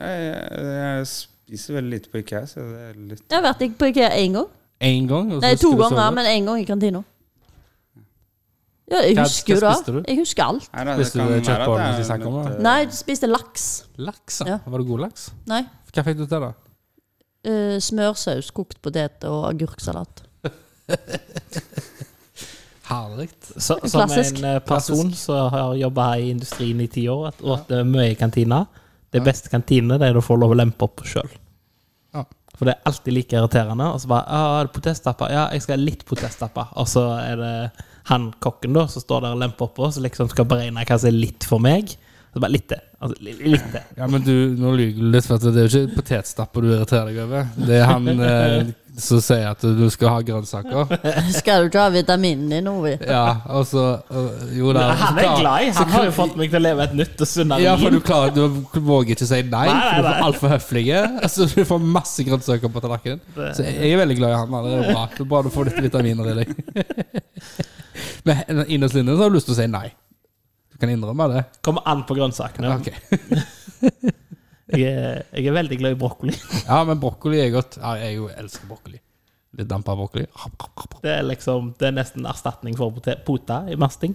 Speaker 4: Jeg, jeg, jeg spiser veldig lite på IKEA, så det er litt
Speaker 1: Jeg har vært på Ikea én gang.
Speaker 3: Én gang? og så
Speaker 1: Nei, to
Speaker 3: husker du så
Speaker 1: ganger,
Speaker 3: det.
Speaker 1: men én gang i kantina. Ja, jeg
Speaker 3: Hva-
Speaker 1: husker jo
Speaker 3: hva spiste
Speaker 1: det.
Speaker 3: du?
Speaker 1: Jeg husker alt.
Speaker 4: Nei, da,
Speaker 3: Hvis du
Speaker 4: være
Speaker 3: kjøper
Speaker 4: at
Speaker 3: den, hvis jeg kommer,
Speaker 4: litt, eh,
Speaker 1: Nei, jeg spiste laks.
Speaker 3: Laks,
Speaker 1: Ja.
Speaker 3: ja. Var det god laks?
Speaker 1: Nei.
Speaker 3: Hva fikk du til, da?
Speaker 1: eh, smørsaus, kokt potet og agurksalat.
Speaker 3: Herlig.
Speaker 2: Så, som
Speaker 1: Klassisk.
Speaker 2: en eh, person som har jobba her i industrien i ti år, at åt eh, mye i kantina Det beste kantine det er det du får lov å lempe opp på sjøl.
Speaker 3: Ja.
Speaker 2: For det er alltid like irriterende. Og så bare «Ah, er det potestapper? Ja, jeg skal ha litt potestapper. Og så er det han kokken da, som står der og lemper oppå, som liksom skal beregne hva som er litt for meg. Så bare litt til. Altså, li- litt til.
Speaker 3: Ja, men du, nå lyver du litt, for at det er jo ikke potetstapper du irriterer deg over. Det er han eh, som sier at du skal ha grønnsaker.
Speaker 1: Skal du ikke ha vitaminen din, Ovi?
Speaker 3: Ja, og så øh, Jo da.
Speaker 2: Han er glad i.
Speaker 3: Så
Speaker 2: Han har jo
Speaker 3: klar-
Speaker 2: fått meg til å leve et nytt og sunnere
Speaker 3: Ja, for du
Speaker 2: liv.
Speaker 3: klarer Du våger ikke si nei,
Speaker 2: Nei, nei,
Speaker 3: for du
Speaker 2: nei.
Speaker 3: får altfor høflige. Altså, du får masse grønnsaker på tallerkenen. Så jeg jeg er veldig glad i han. da. Det er bra Det er bra du får litt vitaminer i deg. Men innerst inne så har du lyst til å si nei. Du kan innrømme det.
Speaker 2: Kommer an på grønnsakene.
Speaker 3: Ok.
Speaker 2: Jeg, er, jeg er veldig glad i brokkoli.
Speaker 3: Ja, men brokkoli er godt. Ja, jeg jo elsker brokkoli. Litt dampa brokkoli.
Speaker 2: Det er liksom, det er nesten erstatning for pote- pota i masting.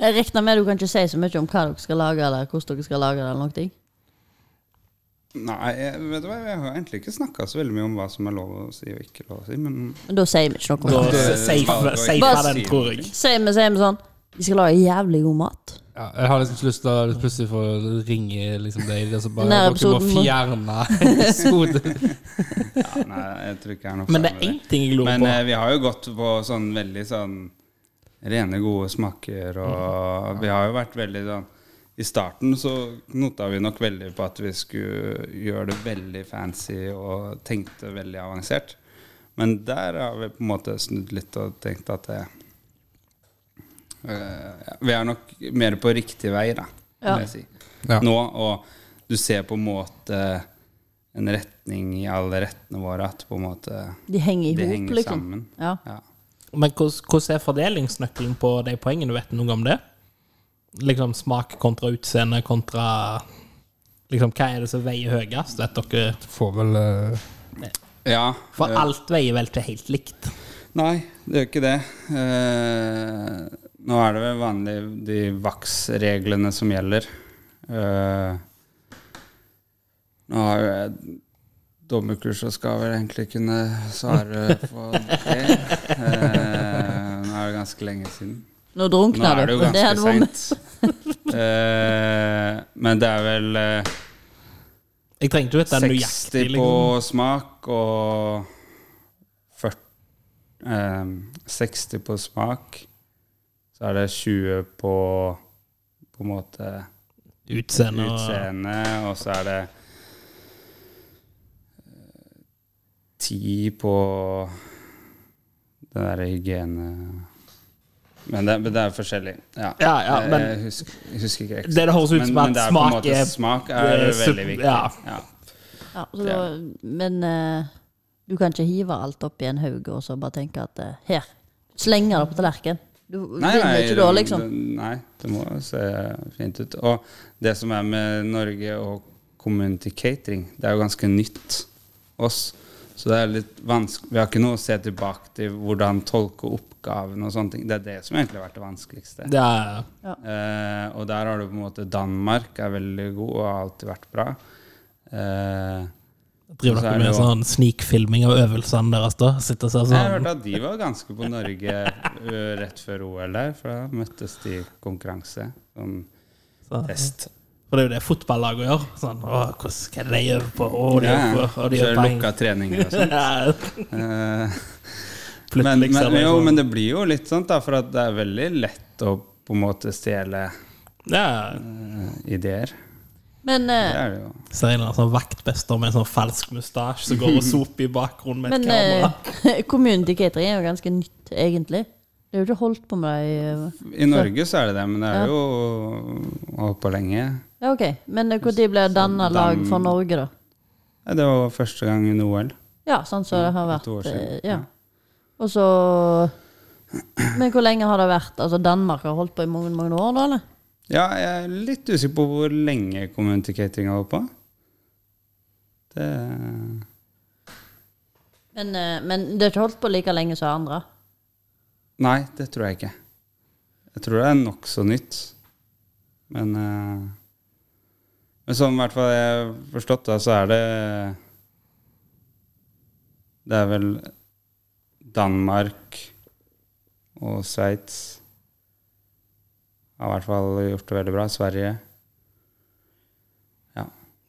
Speaker 1: Jeg regner med du kan ikke si så mye om hva dere skal lage, eller hvordan dere skal lage det, eller noen ting.
Speaker 4: Nei, jeg, vet du hva, jeg har egentlig ikke snakka så veldig mye om hva som er lov å si og ikke lov å si, men
Speaker 1: Men da sier vi ikke noe
Speaker 2: Da
Speaker 1: om det.
Speaker 4: Det-
Speaker 2: safe, safe
Speaker 1: Bare-
Speaker 2: er den, tror jeg.
Speaker 1: Sier vi, sier vi sånn Vi skal lage jævlig god mat.
Speaker 3: Ja, jeg har liksom ikke lyst til å plutselig få ringe liksom deg og så bare
Speaker 1: Denne
Speaker 3: Dere må
Speaker 1: episoden må-
Speaker 3: fjerne episoden.
Speaker 4: ja, nei, jeg tror ikke jeg er noe
Speaker 2: Men det
Speaker 4: ferdig
Speaker 2: er
Speaker 4: med
Speaker 2: én ting jeg lurer
Speaker 4: Men
Speaker 2: på.
Speaker 4: eh, vi har jo gått på sånn veldig sånn rene, gode smaker, og vi har jo vært veldig sånn I starten så knota vi nok veldig på at vi skulle gjøre det veldig fancy og tenkte veldig avansert. Men der har vi på en måte snudd litt og tenkt at det eh, ja, Vi er nok mer på riktig vei, da,
Speaker 1: Ja.
Speaker 4: vil jeg si.
Speaker 3: Ja.
Speaker 4: Nå, og du ser på en måte en retning i alle rettene våre at på en måte
Speaker 1: De henger i
Speaker 4: det
Speaker 1: hop,
Speaker 4: henger
Speaker 1: liksom.
Speaker 4: sammen.
Speaker 1: Ja.
Speaker 4: Ja.
Speaker 2: Men hvordan hvordan er fordelingsnøkkelen på de poengene? Vet du noe om det? Liksom smak kontra utseende kontra Liksom, hva er det som veier høyest? Vet dere?
Speaker 3: Får vel eh,
Speaker 4: Ja.
Speaker 2: For
Speaker 4: eh,
Speaker 2: alt veier vel ikke helt likt.
Speaker 4: Nei, det gjør ikke det. Eh, nå er det vel vanlig de VAX-reglene som gjelder. Eh, nå har jo jeg dommerkurs og skal vel egentlig kunne svare på det. Eh, nå er det ganske lenge siden.
Speaker 1: Nå
Speaker 4: Nå
Speaker 1: drukna
Speaker 4: er
Speaker 1: du.
Speaker 4: det jo
Speaker 1: Det hadde
Speaker 4: ganske
Speaker 1: vært-
Speaker 4: seint. Eh, men det er vel eh,
Speaker 2: Jeg trenger ikke vite nøyaktig.
Speaker 4: 60 på
Speaker 2: Liksom.
Speaker 4: smak og 40, eh, 60 på smak. Så er det 20 på på en måte
Speaker 2: Utseende og
Speaker 4: utseende, og så er det eh, 10 på den derre hygiene... Men det, men det er forskjellig. Ja,
Speaker 2: Ja, ja,
Speaker 4: Jeg-
Speaker 2: men-
Speaker 4: jeg husker, jeg husker ikke eksakt.
Speaker 2: Det det høres ut som at
Speaker 4: Eh, men det er på en
Speaker 2: smak
Speaker 4: måte,
Speaker 2: er-
Speaker 4: smak er
Speaker 2: det er sup-
Speaker 4: veldig viktig.
Speaker 2: ja.
Speaker 4: Ja.
Speaker 1: Ja, så da, men eh, du kan ikke hive alt opp i en haug og så bare tenke at eh, her, slenge det på tallerkenen. Du
Speaker 4: Nei,
Speaker 1: vinner
Speaker 4: nei,
Speaker 1: ikke da,
Speaker 4: den-
Speaker 1: liksom.
Speaker 4: den- nei, det må se fint ut. Og det som er med Norge og community catering, det er jo ganske nytt oss. Så det er litt vanskelig Vi har ikke noe å se tilbake til hvordan tolke oppgaven og sånne ting. Det er det som egentlig har vært det vanskeligste.
Speaker 2: Det er
Speaker 4: Eh, og der har du på en måte Danmark er veldig god og har alltid vært bra. Eh,
Speaker 2: Driver
Speaker 4: Så er
Speaker 2: dere
Speaker 4: det
Speaker 2: med
Speaker 4: jo-
Speaker 2: sånn snikfilming av øvelsene deres, da? Sitter og
Speaker 1: Altså-
Speaker 2: ser
Speaker 4: jeg har
Speaker 2: sånn
Speaker 4: hørt at de var ganske på Norge eh, rett før OL der, for da møttes de i konkurranse. Sånn
Speaker 2: så-
Speaker 4: test.
Speaker 2: For det er jo det fotballaget gjør. Sånn, å, hvordan, hva er det de gjør på? Å, de
Speaker 4: Ja,
Speaker 2: gjør
Speaker 4: ja.
Speaker 2: på, og de
Speaker 4: Så
Speaker 2: gjør
Speaker 4: er
Speaker 2: på
Speaker 4: det
Speaker 2: en-
Speaker 4: lukka treninger og sånn.
Speaker 2: Ja,
Speaker 4: Eh, men,
Speaker 2: Plutselig ser
Speaker 4: men,
Speaker 2: de
Speaker 4: jo,
Speaker 2: sånn-
Speaker 4: men det blir jo litt sånn, da, for at det er veldig lett å på en måte stjele
Speaker 2: Ja,
Speaker 4: eh, ideer.
Speaker 1: Men,
Speaker 4: Det
Speaker 1: eh,
Speaker 4: er det jo.
Speaker 2: ser en eller annen sånn vaktbester med en sånn falsk mustasje som går og soper i bakgrunnen med et
Speaker 1: men
Speaker 2: kamera.
Speaker 1: eh, kommunen til catering er jo ganske nytt, egentlig. Det er jo ikke holdt på med det i eh,
Speaker 4: I Norge så er det det, men det
Speaker 1: Ja.
Speaker 4: er jo holdt på lenge.
Speaker 1: Ja, OK. Men eh, når ble det danna
Speaker 4: Så
Speaker 1: lag
Speaker 4: dan-
Speaker 1: for Norge, da?
Speaker 4: Ja, Det var første gang under OL.
Speaker 1: Ja, sånn som det har
Speaker 4: for
Speaker 1: vært.
Speaker 4: to år siden,
Speaker 1: eh, Ja.
Speaker 4: ja.
Speaker 1: Og så Men hvor lenge har det vært? Altså, Danmark har holdt på i mange, mange år, da, eller?
Speaker 4: Ja, jeg er litt usikker på hvor lenge community catering har holdt på. Det
Speaker 1: Men, eh, men det er ikke holdt på like lenge som andre.
Speaker 4: Nei, det tror jeg ikke. Jeg tror det er nokså nytt. Men eh, Men som i hvert fall jeg har forstått, da, så er det Det er vel Danmark og Sveits har i hvert fall gjort det veldig bra. Sverige. Ja.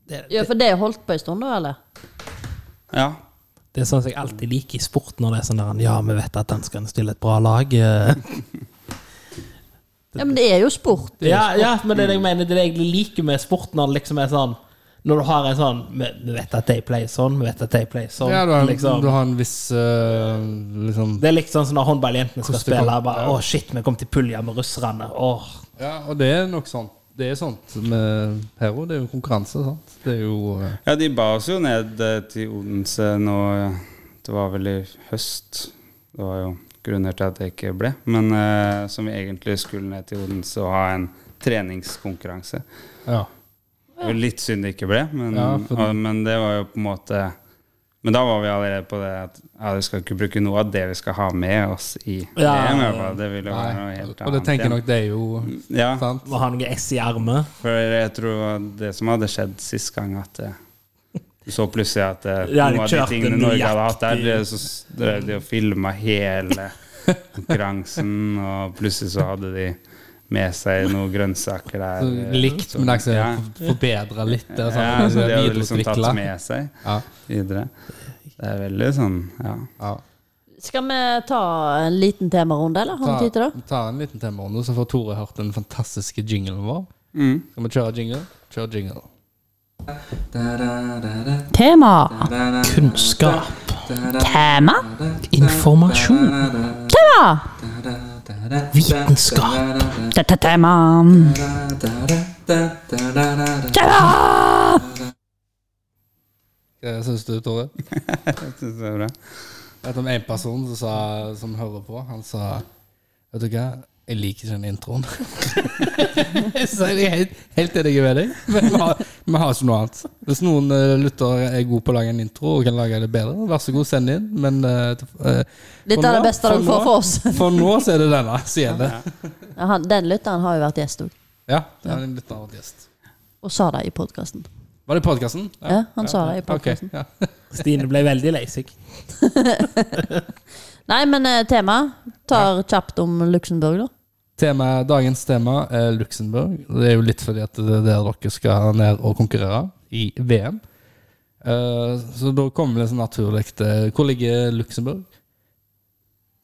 Speaker 2: Det,
Speaker 1: Ja, for det er holdt på en stund, da, eller?
Speaker 4: ja.
Speaker 2: det er sånn som jeg alltid liker i sport, når det er sånn der Ja, vi vet at danskene stiller et bra lag. eh.
Speaker 1: Ja, men det er jo sport.
Speaker 2: Ja, ja, men det er det jeg mener Det er det jeg liker med sport, når det liksom er sånn Når du har en sånn Vi vi vet at de pleier sånn, vi vet at de pleier sånn.
Speaker 3: Ja, du har, en-
Speaker 2: liksom.
Speaker 3: du har en viss eh, liksom
Speaker 2: Det er litt sånn som når håndballjentene skal
Speaker 3: Hvordan det kom-
Speaker 2: spille. Bare, Å, shit, vi kom til pulja med russerne. Åh.
Speaker 3: Ja, og det er nok sånn. Det er sånt med her òg. Det er jo konkurranse, sant. Det er jo eh,
Speaker 4: ja, de ba oss jo ned eh, til Odense nå eh, Det var vel i høst. Det var jo grunner til at jeg ikke ble. Men eh, som vi egentlig skulle ned til Odense og ha en treningskonkurranse.
Speaker 3: Ja.
Speaker 4: Det var litt synd det ikke ble, men,
Speaker 3: Ja, for-
Speaker 4: og, men det var jo på en måte Men da var vi allerede på det at ja, vi skal ikke bruke noe av det vi skal ha med oss i
Speaker 2: Ja,
Speaker 4: VM. i
Speaker 2: ja,
Speaker 4: hvert fall. Det ville være noe
Speaker 3: Nei.
Speaker 4: helt annet.
Speaker 3: Og det tenker jeg
Speaker 4: igjen.
Speaker 3: nok det er jo
Speaker 4: Ja,
Speaker 3: sant.
Speaker 2: Må ha noe ess i armet.
Speaker 4: for jeg tror det var det som hadde skjedd sist gang, at eh, du så plutselig at eh,
Speaker 2: Ja, de
Speaker 4: noe av de
Speaker 2: kjørte
Speaker 4: tingene Norge hadde hatt der,
Speaker 2: nøyaktig.
Speaker 4: det- så s- drev de og filma hele konkurransen, og plutselig så hadde de med seg noen grønnsaker der. eh,
Speaker 3: Likt, men det er
Speaker 4: Ja.
Speaker 3: ikke så forbedra litt. Det er sånn,
Speaker 4: Ja, så de hadde liksom tatt
Speaker 3: videreutviklet.
Speaker 4: med seg.
Speaker 3: Ja,
Speaker 4: videre. Det er veldig sånn, ja.
Speaker 3: ja.
Speaker 1: Skal vi ta en liten temarunde, eller? Har vi tid til det?
Speaker 3: Ta, ta en liten temarunde, så får Tore hørt den fantastiske jinglen vår.
Speaker 4: Mm.
Speaker 3: Skal vi kjøre jingle? Kjør jingle.
Speaker 1: Tema.
Speaker 2: Kunnskap.
Speaker 1: Tema.
Speaker 2: Informasjon.
Speaker 1: Tema.
Speaker 2: Vitenskap.
Speaker 1: Dette tema. Tema.
Speaker 3: Hva syns du, Tore?
Speaker 4: Jeg synes det er bra.
Speaker 3: Jeg vet om en person som, sa, som hører på, han sa Vet du hva, jeg liker ikke den introen. Så er jeg helt, helt enig med deg. Men vi har, Vi har ikke noe annet. Hvis noen eh, lyttere er gode på å lage en intro og kan lage det bedre, vær så god, send inn. Men eh, til- eh,
Speaker 1: Dette er
Speaker 3: for
Speaker 1: det
Speaker 3: nå-
Speaker 1: beste dere får
Speaker 3: nå-
Speaker 1: for oss.
Speaker 3: For nå så er det denne som gjelder.
Speaker 1: Ja, Han, den lytteren har jo vært gjest òg,
Speaker 3: Ja, det er en litt annen gjest.
Speaker 1: og sa det i podkasten.
Speaker 3: Var det i podkasten?
Speaker 1: Ja, han sa det i
Speaker 3: Ok,
Speaker 1: podkasten.
Speaker 3: ja.
Speaker 2: Stine ble veldig lei seg.
Speaker 1: Nei, men eh, tema tar kjapt om Luxembourg, da.
Speaker 3: Tema, dagens tema er Luxembourg. Det er jo litt fordi at det er der dere skal ned og konkurrere i VM. Eh, så da kommer det så naturlig til Hvor ligger Luxembourg?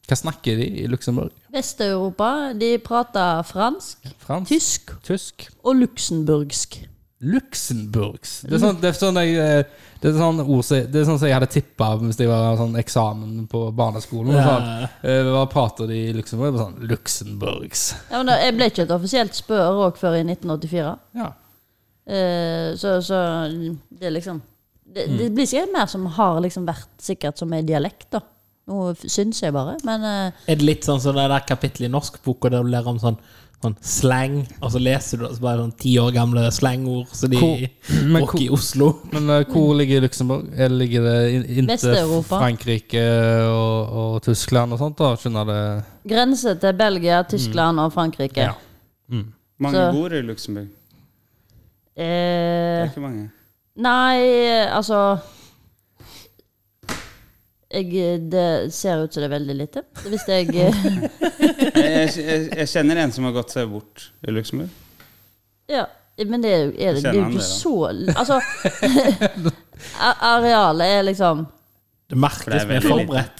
Speaker 3: Hva snakker de i Luxembourg?
Speaker 1: Vest-Europa, de prater fransk,
Speaker 3: Fransk?
Speaker 1: tysk
Speaker 3: Tysk?
Speaker 1: og luxemburgsk.
Speaker 3: Luxemburgs. Det er sånn, det er sånn, jeg, eh, det er sånn ord som det er sånn som jeg hadde tippa hvis det var sånn eksamen på barneskolen.
Speaker 2: Ja.
Speaker 3: Sånn, eh, hva prater de i Luxembourg? Det var Sånn, Luxemburgs.
Speaker 1: Ja, men da, jeg ble ikke et offisielt spør òg før i 1984.
Speaker 3: Ja.
Speaker 1: Eh, så, så det er liksom det, det blir sikkert mer som har liksom vært sikkert som en dialekt, da. Nå f- syns jeg bare, men eh,
Speaker 2: Er det litt sånn som det der kapittelet i norskboka der du lærer om sånn, sånn slang, og så leser du og så bare sånn ti år gamle slangord som de
Speaker 3: Hvor- men hvor-
Speaker 2: bruker i Oslo?
Speaker 3: Men eh, hvor ligger Luxembourg? Er det- Ligger det in- inntil
Speaker 1: Vest-Europa.
Speaker 3: Frankrike og, og Tyskland og sånt? da? Skjønner det
Speaker 1: grense til Belgia, Tyskland og Frankrike.
Speaker 3: Ja.
Speaker 4: Mange
Speaker 1: Så-
Speaker 4: bor i Luxembourg. Det
Speaker 1: Eh,
Speaker 4: er ikke mange.
Speaker 1: Nei, altså jeg, eh, Det ser ut som det er veldig lite. Hvis jeg eh,
Speaker 4: Jeg, jeg, jeg, jeg kjenner en som har gått seg bort i Luxembourg.
Speaker 1: Ja, men det er jo er det, det er jo
Speaker 4: Kjenner han
Speaker 1: ikke
Speaker 4: det, da?
Speaker 1: så Altså a- Arealet er liksom
Speaker 2: Det
Speaker 4: For det
Speaker 2: merkes
Speaker 4: er
Speaker 2: vi er
Speaker 4: veldig lite.
Speaker 2: forberedt.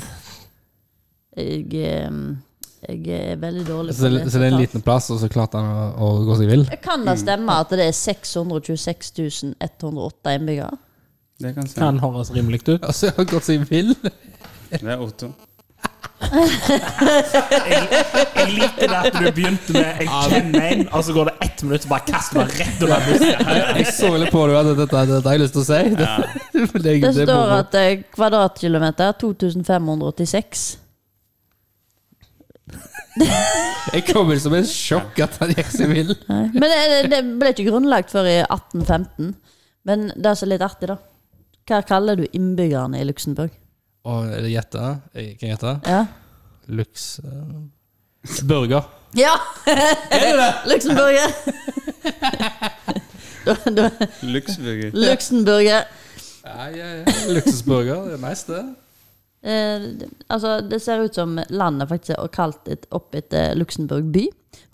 Speaker 1: Jeg, ehm, jeg er veldig dårlig på
Speaker 3: Så, så det er en liten plass, og så klarte han å, å gå seg vill?
Speaker 1: Kan
Speaker 4: Mm.
Speaker 1: det stemme at det er 626 108 innbyggere?
Speaker 4: Det kan jeg si.
Speaker 2: Kan høres rimelig ut.
Speaker 3: Altså, han har gått seg vill?
Speaker 4: Det er Otto.
Speaker 2: Jeg likte det at du begynte med 'jeg kjenner en', og så går det ett minutt, så bare kaster du rett under bussen.
Speaker 3: Jeg så litt på det, at dette, dette, har jeg lyst til å si. Det, det, det,
Speaker 1: Det
Speaker 3: det
Speaker 1: står at eh, kvadratkilometer 2586.
Speaker 3: Jeg kom inn som en sjokk at han gikk seg vill.
Speaker 1: Nei. Men det, det- det ble ikke grunnlagt før i 1815. Men det er så litt artig, da. Hva kaller du innbyggerne i Luxembourg?
Speaker 3: Og er det gjette? Jeg kan gjette.
Speaker 1: Ja.
Speaker 3: Lux... eh, Burger.
Speaker 1: ja. Luxemburger! Da- da-
Speaker 4: Luxburger.
Speaker 1: Luxemburger.
Speaker 3: Ja, ja, ja. Luksusburger. Det er nice, det.
Speaker 1: Eh, det- altså, det ser ut som landet faktisk er kalt et- opp etter Luxembourg by.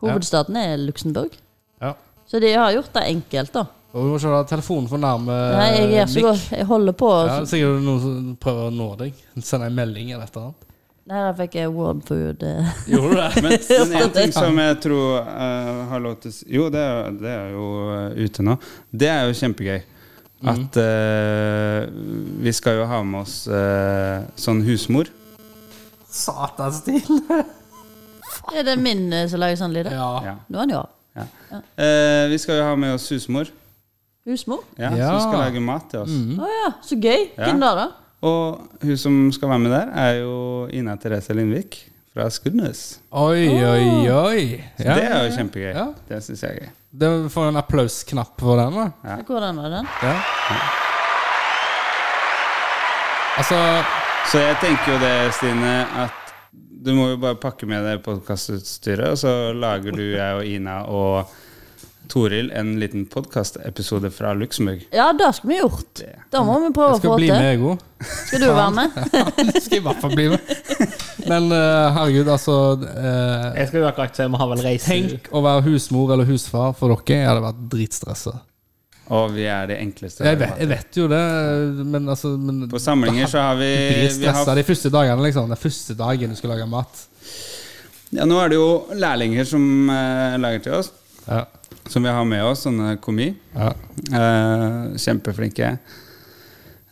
Speaker 1: Hovedstaden er Luxembourg.
Speaker 3: Ja.
Speaker 1: Så de har gjort det enkelt, da.
Speaker 3: Og vi må ikke ha telefonen for nærme
Speaker 1: Nei, jeg, gjør så
Speaker 3: mikk.
Speaker 1: godt. jeg holder på å
Speaker 3: Ja, det er sikkert noen som prøver å nå deg. Sende en melding eller et eller annet.
Speaker 1: Der fikk jeg word food. eh.
Speaker 3: Gjorde du det?
Speaker 4: Men, men en ting som jeg tror eh, har lov til å s- Jo, det er, det er jo eh, ute nå. Det er jo kjempegøy.
Speaker 3: Mm.
Speaker 4: At eh, vi skal jo ha med oss eh, sånn husmor.
Speaker 3: Satans stil.
Speaker 1: Er det min eh, som lager sånn lyd?
Speaker 3: Ja.
Speaker 4: Ja.
Speaker 1: Nå er han jo av.
Speaker 4: Ja. Eh, vi skal jo ha med oss husmor,
Speaker 1: Husmor?
Speaker 4: ja,
Speaker 3: Ja. Mm.
Speaker 4: som skal lage mat til oss.
Speaker 1: Å Mm. ja, så gøy.
Speaker 4: Ja.
Speaker 1: Hvem da, da?
Speaker 4: Og hun som skal være med der, er jo Ina Therese Lindvik fra Skudenes.
Speaker 3: Oi, oi, oi. Ja.
Speaker 4: Det er jo kjempegøy.
Speaker 3: Ja.
Speaker 4: Det syns jeg er gøy.
Speaker 3: Det får en applausknapp for den, da.
Speaker 4: Ja.
Speaker 1: Hvordan var den?
Speaker 3: Ja. Altså
Speaker 4: Så jeg tenker jo det, Stine, at du må jo bare pakke med deg podkastutstyret, og så lager du, jeg og Ina og Toril en liten podkastepisode fra Luxembourg.
Speaker 1: Ja, det skulle vi gjort. Da må vi prøve å
Speaker 3: Jeg
Speaker 1: få
Speaker 3: skal bli
Speaker 1: til.
Speaker 3: med, jeg òg.
Speaker 1: Skal du være med?
Speaker 3: Jeg skal i hvert fall bli med. Men eh, herregud, altså eh,
Speaker 2: Jeg skal jo akkurat se, vi har vel reise
Speaker 3: Tenk å være husmor eller husfar for dere. Jeg hadde vært dritstressa.
Speaker 4: Og vi er det enkleste.
Speaker 3: Jeg, vet- jeg vet jo det, men altså men,
Speaker 4: På samlinger så har vi,
Speaker 3: Blir
Speaker 4: vi har,
Speaker 3: stressa de første dagene, liksom. Den første dagen du skal lage mat.
Speaker 4: ja, Nå er det jo lærlinger som eh, lager til oss,
Speaker 3: Ja.
Speaker 4: som vi har med oss, sånne komi.
Speaker 3: ja.
Speaker 4: Eh, kjempeflinke.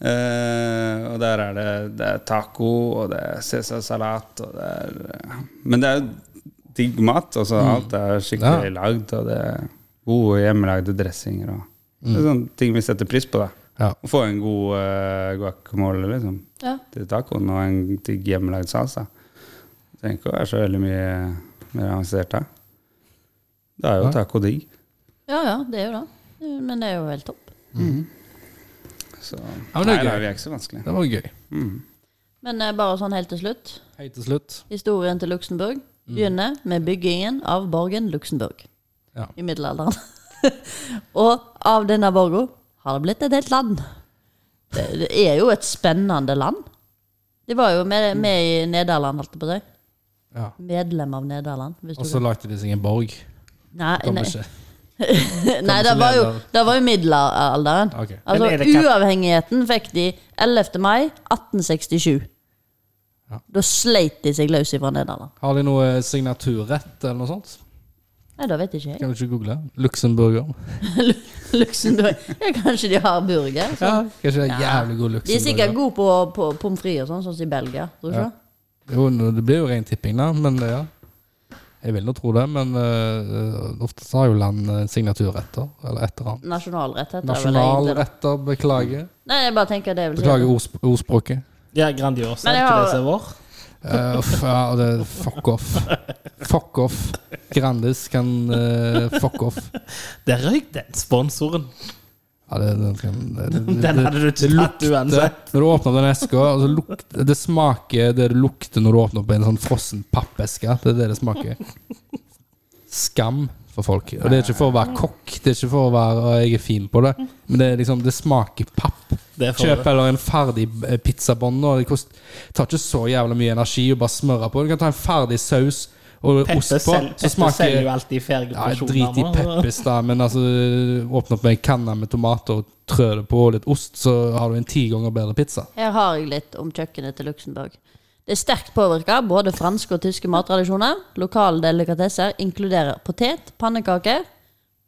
Speaker 4: Eh, og der er det, det er taco, og det er cæsarsalat, og det er eh, Men det er jo digg mat. Altså, Alt er skikkelig lagd, og det er gode hjemmelagde dressinger. Og, Det er sånne ting vi setter pris på. da
Speaker 3: Ja.
Speaker 4: Å få en god eh, guacamole liksom,
Speaker 1: Ja.
Speaker 4: til tacoen, og en digg hjemmelagd salsa. Trenger ikke å være så veldig mye mer avansert da. Da er jo taco digg.
Speaker 1: ja ja, det er jo det. Men det er jo helt topp.
Speaker 4: Så
Speaker 3: men det
Speaker 4: nei
Speaker 3: er
Speaker 4: da,
Speaker 3: gøy.
Speaker 4: vi er ikke så vanskelig.
Speaker 3: Det var gøy.
Speaker 1: Men eh, bare sånn helt til slutt.
Speaker 3: Helt til slutt.
Speaker 1: Historien til Luxembourg begynner med byggingen av borgen Luxembourg
Speaker 3: Ja.
Speaker 1: i middelalderen. og av denne borgen har det blitt et helt land. Det, det er jo et spennende land. Det var jo med, med i Nederland, holdt jeg på å si.
Speaker 3: Ja.
Speaker 1: Medlem av Nederland. Hvis du
Speaker 3: Og så lagde de seg en borg.
Speaker 1: nei,
Speaker 3: Kommer
Speaker 1: nei,
Speaker 3: ikke.
Speaker 1: nei det, var jo, det var jo middelalderen.
Speaker 3: Ok.
Speaker 1: Altså,
Speaker 2: Men er det kat-
Speaker 1: uavhengigheten fikk de 11. mai 1867.
Speaker 3: Ja.
Speaker 1: Da sleit de seg løs fra Nederland.
Speaker 3: Har de noe eh, signaturrett eller noe sånt?
Speaker 1: Nei, det vet jeg ikke jeg.
Speaker 3: Kan du ikke google? Luxemburger.
Speaker 1: Luxembourg. Ja, kanskje de har burger?
Speaker 3: Ja,
Speaker 1: sånn.
Speaker 3: kanskje det
Speaker 1: Ja.
Speaker 3: er jævlig god
Speaker 1: De er sikkert
Speaker 3: luxemburger.
Speaker 1: gode på, på pommes frites og sånn, sånn som i Belgia. Tror du ikke
Speaker 3: Ja. Jo, nå, det blir jo ren tipping, da, men eh, ja. Jeg vil nå tro det, men eh, ofte så har jo land eh, signaturretter, eller et eller annet.
Speaker 1: det? Nasjonalrett heter det vel egentlig.
Speaker 3: Nasjonalretter, beklager.
Speaker 1: da. Nei, jeg bare tenker det er vel
Speaker 3: Beklager ordsp ordspråket.
Speaker 2: Ja, Grandiosa.
Speaker 1: Men
Speaker 2: Er
Speaker 1: jeg
Speaker 2: ikke
Speaker 1: har-
Speaker 2: det som er vår?
Speaker 3: Eh, uff, ja, det, fuck off. Fuck off. Grandis kan eh, fuck off.
Speaker 2: Der røyk den sponsoren.
Speaker 3: Ja, det, den kan, det, det, det,
Speaker 2: Den hadde du ikke tatt uansett.
Speaker 3: Når du åpner den eska, altså, lukter- det smaker det det lukter når du åpner opp en sånn frossen pappeske. Det er det det smaker. Skam for folk. Og det er ikke for å være kokk, det er ikke for å være «Å, jeg er fin på det, men det, er liksom, det smaker papp.
Speaker 2: Det får du.
Speaker 3: Kjøp heller en ferdig eh, pizzabånd. nå. Det kost, tar ikke så jævla mye energi å bare smøre på. Du kan ta en ferdig saus og
Speaker 2: Peppe
Speaker 3: ost på,
Speaker 2: sel-
Speaker 3: så
Speaker 2: Peppe selger jo
Speaker 3: smaker
Speaker 2: alltid ferdige
Speaker 3: ja,
Speaker 2: porsjoner.
Speaker 3: Drit i
Speaker 2: nå.
Speaker 3: Peppes, da, men altså, åpne opp med en kanne med tomater og trø det på og litt ost, så har du en ti ganger bedre pizza.
Speaker 1: Her har jeg litt om kjøkkenet til Luxembourg. Det er sterkt påvirka både franske og tyske mattradisjoner. Lokale delikatesser inkluderer potet, pannekaker,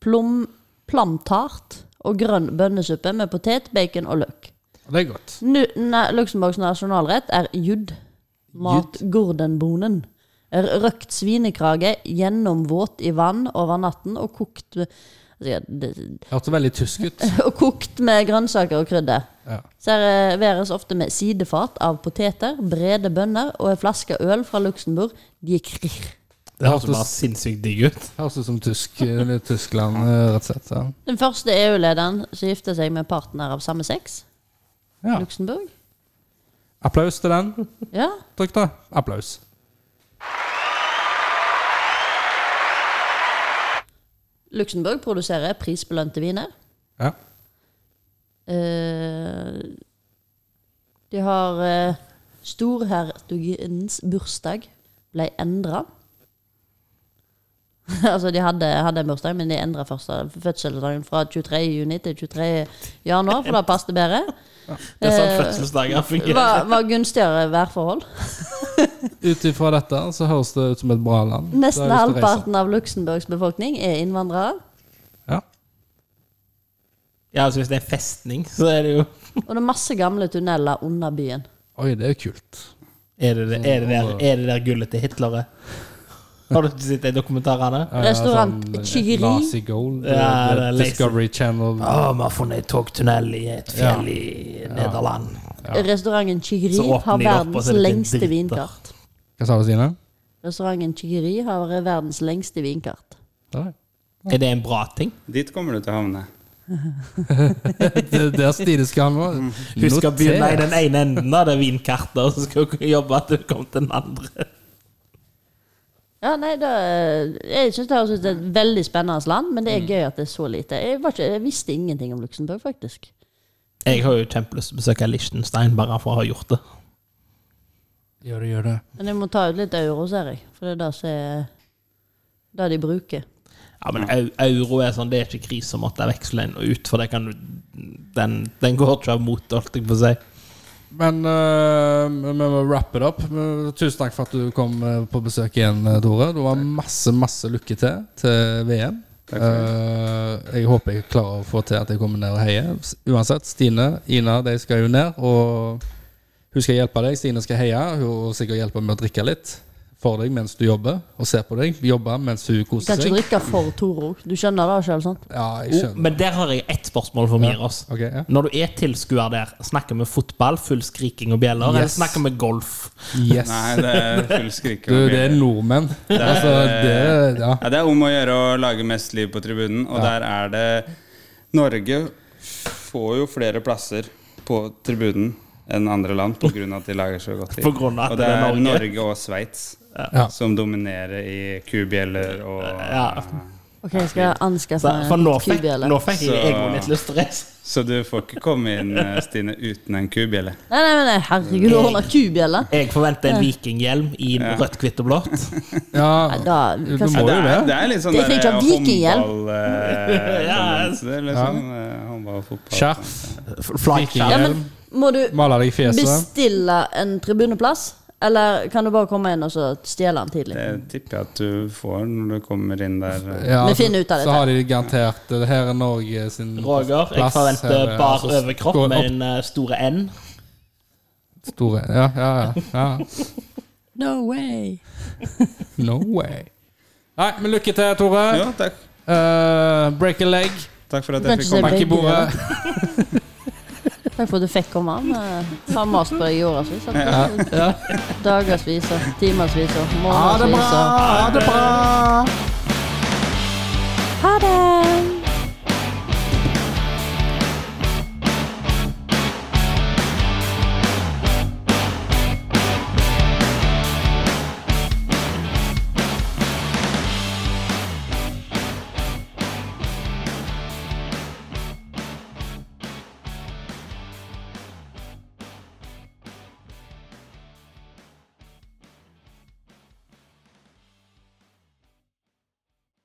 Speaker 1: plom, plamtart og grønn bønnesuppe med potet, bacon og løk.
Speaker 3: Og Det er godt.
Speaker 1: Nu, na, Luxembourgs nasjonalrett er jud. Mat gordenbonen. R- Røkt svinekrage gjennomvåt i vann over natten og kokt med- altså, ja, det-
Speaker 3: Hørte veldig tysk ut.
Speaker 1: Og kokt med grønnsaker og krydder.
Speaker 3: Ja.
Speaker 1: Serveres ofte med sidefat av poteter, brede bønner og en flaske øl fra Luxembourg. De er krir.
Speaker 2: Det høres jo bare sinnssykt digg ut.
Speaker 3: Høres ut som tysk, eller Tyskland, eh, rett og slett. Ja.
Speaker 1: Den første EU-lederen som gifta seg med partner av samme sex.
Speaker 3: Ja.
Speaker 1: Luxembourg.
Speaker 3: Applaus til den.
Speaker 1: Ja.
Speaker 3: Trykk, da. Applaus.
Speaker 1: Luxembourg produserer prisbelønte viner.
Speaker 3: Ja.
Speaker 1: Eh, de har eh, Storhertugens bursdag ble endra. altså, de hadde, hadde en bursdag, men de endra fødselsdagen fra 23. juni til 23. januar, for da passet det bedre.
Speaker 2: Det er sånn
Speaker 1: Eh,
Speaker 2: fødselsdager fungerer.
Speaker 1: Var, var gunstigere værforhold.
Speaker 3: Ut ifra dette så høres det ut som et bra land. Da
Speaker 1: Nesten
Speaker 3: har jeg lyst til å reise.
Speaker 1: halvparten av Luxembourgs befolkning er innvandrere.
Speaker 3: Ja.
Speaker 2: Ja, altså Hvis det er festning, så er det jo
Speaker 1: Og det er masse gamle tunneler under byen.
Speaker 3: Oi, det er jo kult.
Speaker 2: Er det det, er det, der, er det der gullet til Hitler? Har du ikke sett de dokumentarene?
Speaker 3: Ja,
Speaker 1: Restaurant
Speaker 2: eh,
Speaker 3: sånn
Speaker 1: Chigiri.
Speaker 3: Nazi Gold.
Speaker 2: Ja,
Speaker 3: eh,
Speaker 2: det er lazy.
Speaker 3: Discovery Channel.
Speaker 2: Å, vi har funnet en togtunnel i et fjell i Nederland.
Speaker 1: Restauranten Chigri
Speaker 2: Så åpner
Speaker 1: har
Speaker 2: de opp, og
Speaker 1: verdens
Speaker 2: så er det
Speaker 1: lengste
Speaker 2: dritter.
Speaker 1: vinkart.
Speaker 3: Hva sa du, Sine?
Speaker 1: Restauranten Chigri har verdens lengste vinkart.
Speaker 3: Der,
Speaker 2: Er det en bra ting?
Speaker 4: Dit kommer du til å havne.
Speaker 3: Det- der Stine skal nå.
Speaker 2: Hun skal begynne i
Speaker 3: Noter.
Speaker 2: den ene enden av det vinkartet, og så skal hun jobbe til hun kommer til den andre.
Speaker 1: Ja, nei, da, eh, Jeg syns det høres ut som et veldig spennende land, men det er gøy at det er så lite. Jeg, var ikke, jeg visste ingenting om Luxembourg, faktisk.
Speaker 2: Jeg har jo kjempelyst til å besøke Liechtenstein bare for å ha gjort det.
Speaker 3: Gjør det, gjør det.
Speaker 1: Men jeg må ta ut litt euro, ser jeg. For det er det som er det de bruker.
Speaker 2: Ja, men au- euro er sånn, det er ikke krise å måtte veksle inn og ut, for det kan du Den, den går ikke av mot, holdt jeg på å si.
Speaker 3: Men eh, vi må wrap it up. Men Tusen takk for at du kom eh, på besøk igjen, eh, Tore. Det var masse, masse lykke til til VM.
Speaker 4: Takk for det.
Speaker 3: Eh, jeg håper jeg klarer å få til at jeg kommer ned og heier. S- Uansett, Stine, Ina, de skal jo ned. Og hun skal hjelpe deg. Stine skal heie. Hun vil sikkert hjelpe med å drikke litt for deg mens du jobber, og ser på deg. Jobbe mens hun
Speaker 1: Du kan
Speaker 3: koser
Speaker 1: ikke
Speaker 3: seg.
Speaker 1: drikke for Toro. Du skjønner det sjøl, sant?
Speaker 3: Ja, jeg
Speaker 2: Oh,
Speaker 3: skjønner.
Speaker 2: men der har jeg ett spørsmål for Miros.
Speaker 3: Ok, ja.
Speaker 2: Når du er tilskuer der, snakker vi fotball, full skriking og bjeller, eller
Speaker 3: Yes.
Speaker 2: snakker vi golf?
Speaker 3: Yes.
Speaker 4: Nei, det er full skrike.
Speaker 3: Du, det er nordmenn. Altså, det Ja.
Speaker 4: Ja, det er om å gjøre å lage mest liv på tribunen, og der er det Norge får jo flere plasser på tribunen enn andre land pga. at de lager så godt tid.
Speaker 2: På grunn av at
Speaker 4: Og det
Speaker 2: det er
Speaker 4: er
Speaker 2: Norge.
Speaker 4: Norge og Sveits
Speaker 3: Ja.
Speaker 4: som dominerer i kubjeller og
Speaker 2: Ja.
Speaker 1: Ok, jeg skal anskaffe
Speaker 2: Så, for nå
Speaker 1: en
Speaker 2: fikk,
Speaker 1: kubjelle.
Speaker 2: nå fikk jeg
Speaker 4: Så-
Speaker 2: jeg òg litt lyst til å reise.
Speaker 4: Så du får ikke komme inn, eh, Stine, uten en kubjelle.
Speaker 1: Nei, nei, nei, herregud, å ordne kubjelle.
Speaker 2: Jeg forventer en vikinghjelm i rødt, hvitt og blått.
Speaker 3: Ja,
Speaker 1: Nei, da,
Speaker 3: du
Speaker 1: hva
Speaker 3: må
Speaker 1: skal-
Speaker 4: det,
Speaker 3: jo
Speaker 4: er,
Speaker 3: det.
Speaker 4: det er litt sånn
Speaker 1: Det er ikke
Speaker 4: der
Speaker 1: vikinghjelm.
Speaker 4: håndballtendenser. Uh, liksom. Eh, Håndball og fotball.
Speaker 3: Skjerf,
Speaker 1: Ja,
Speaker 2: Flaggskjerm.
Speaker 1: men må du
Speaker 3: male deg i fjeset.
Speaker 1: bestille en tribuneplass? Eller kan du bare komme inn og så stjele den tidlig?
Speaker 4: Det tipper jeg at du får når du kommer inn der. eh.
Speaker 3: Ja,
Speaker 1: Vi
Speaker 3: så,
Speaker 1: finner ut av
Speaker 3: så
Speaker 1: dette.
Speaker 3: har de garantert Det her er Norge sin
Speaker 2: Roger, jeg
Speaker 3: plass her,
Speaker 2: forventer
Speaker 3: ja,
Speaker 2: bar
Speaker 3: så
Speaker 2: overkropp
Speaker 3: går
Speaker 2: med
Speaker 3: opp
Speaker 2: en eh, store N.
Speaker 3: Store. Ja, ja, ja, ja.
Speaker 1: No way!
Speaker 3: No way. Nei, men lykke til, Tore.
Speaker 4: Ja, takk.
Speaker 3: Eh, break a leg.
Speaker 4: Takk for at
Speaker 1: Kanskje
Speaker 4: jeg fikk komme.
Speaker 1: det
Speaker 3: Bank i bordet.
Speaker 1: Takk for at du fikk komme an. Har mast på deg i årevis. Dagersvis og timersvis og
Speaker 3: Ha det bra!
Speaker 1: månedsvis. og-
Speaker 3: Ha det bra!
Speaker 1: Ha det!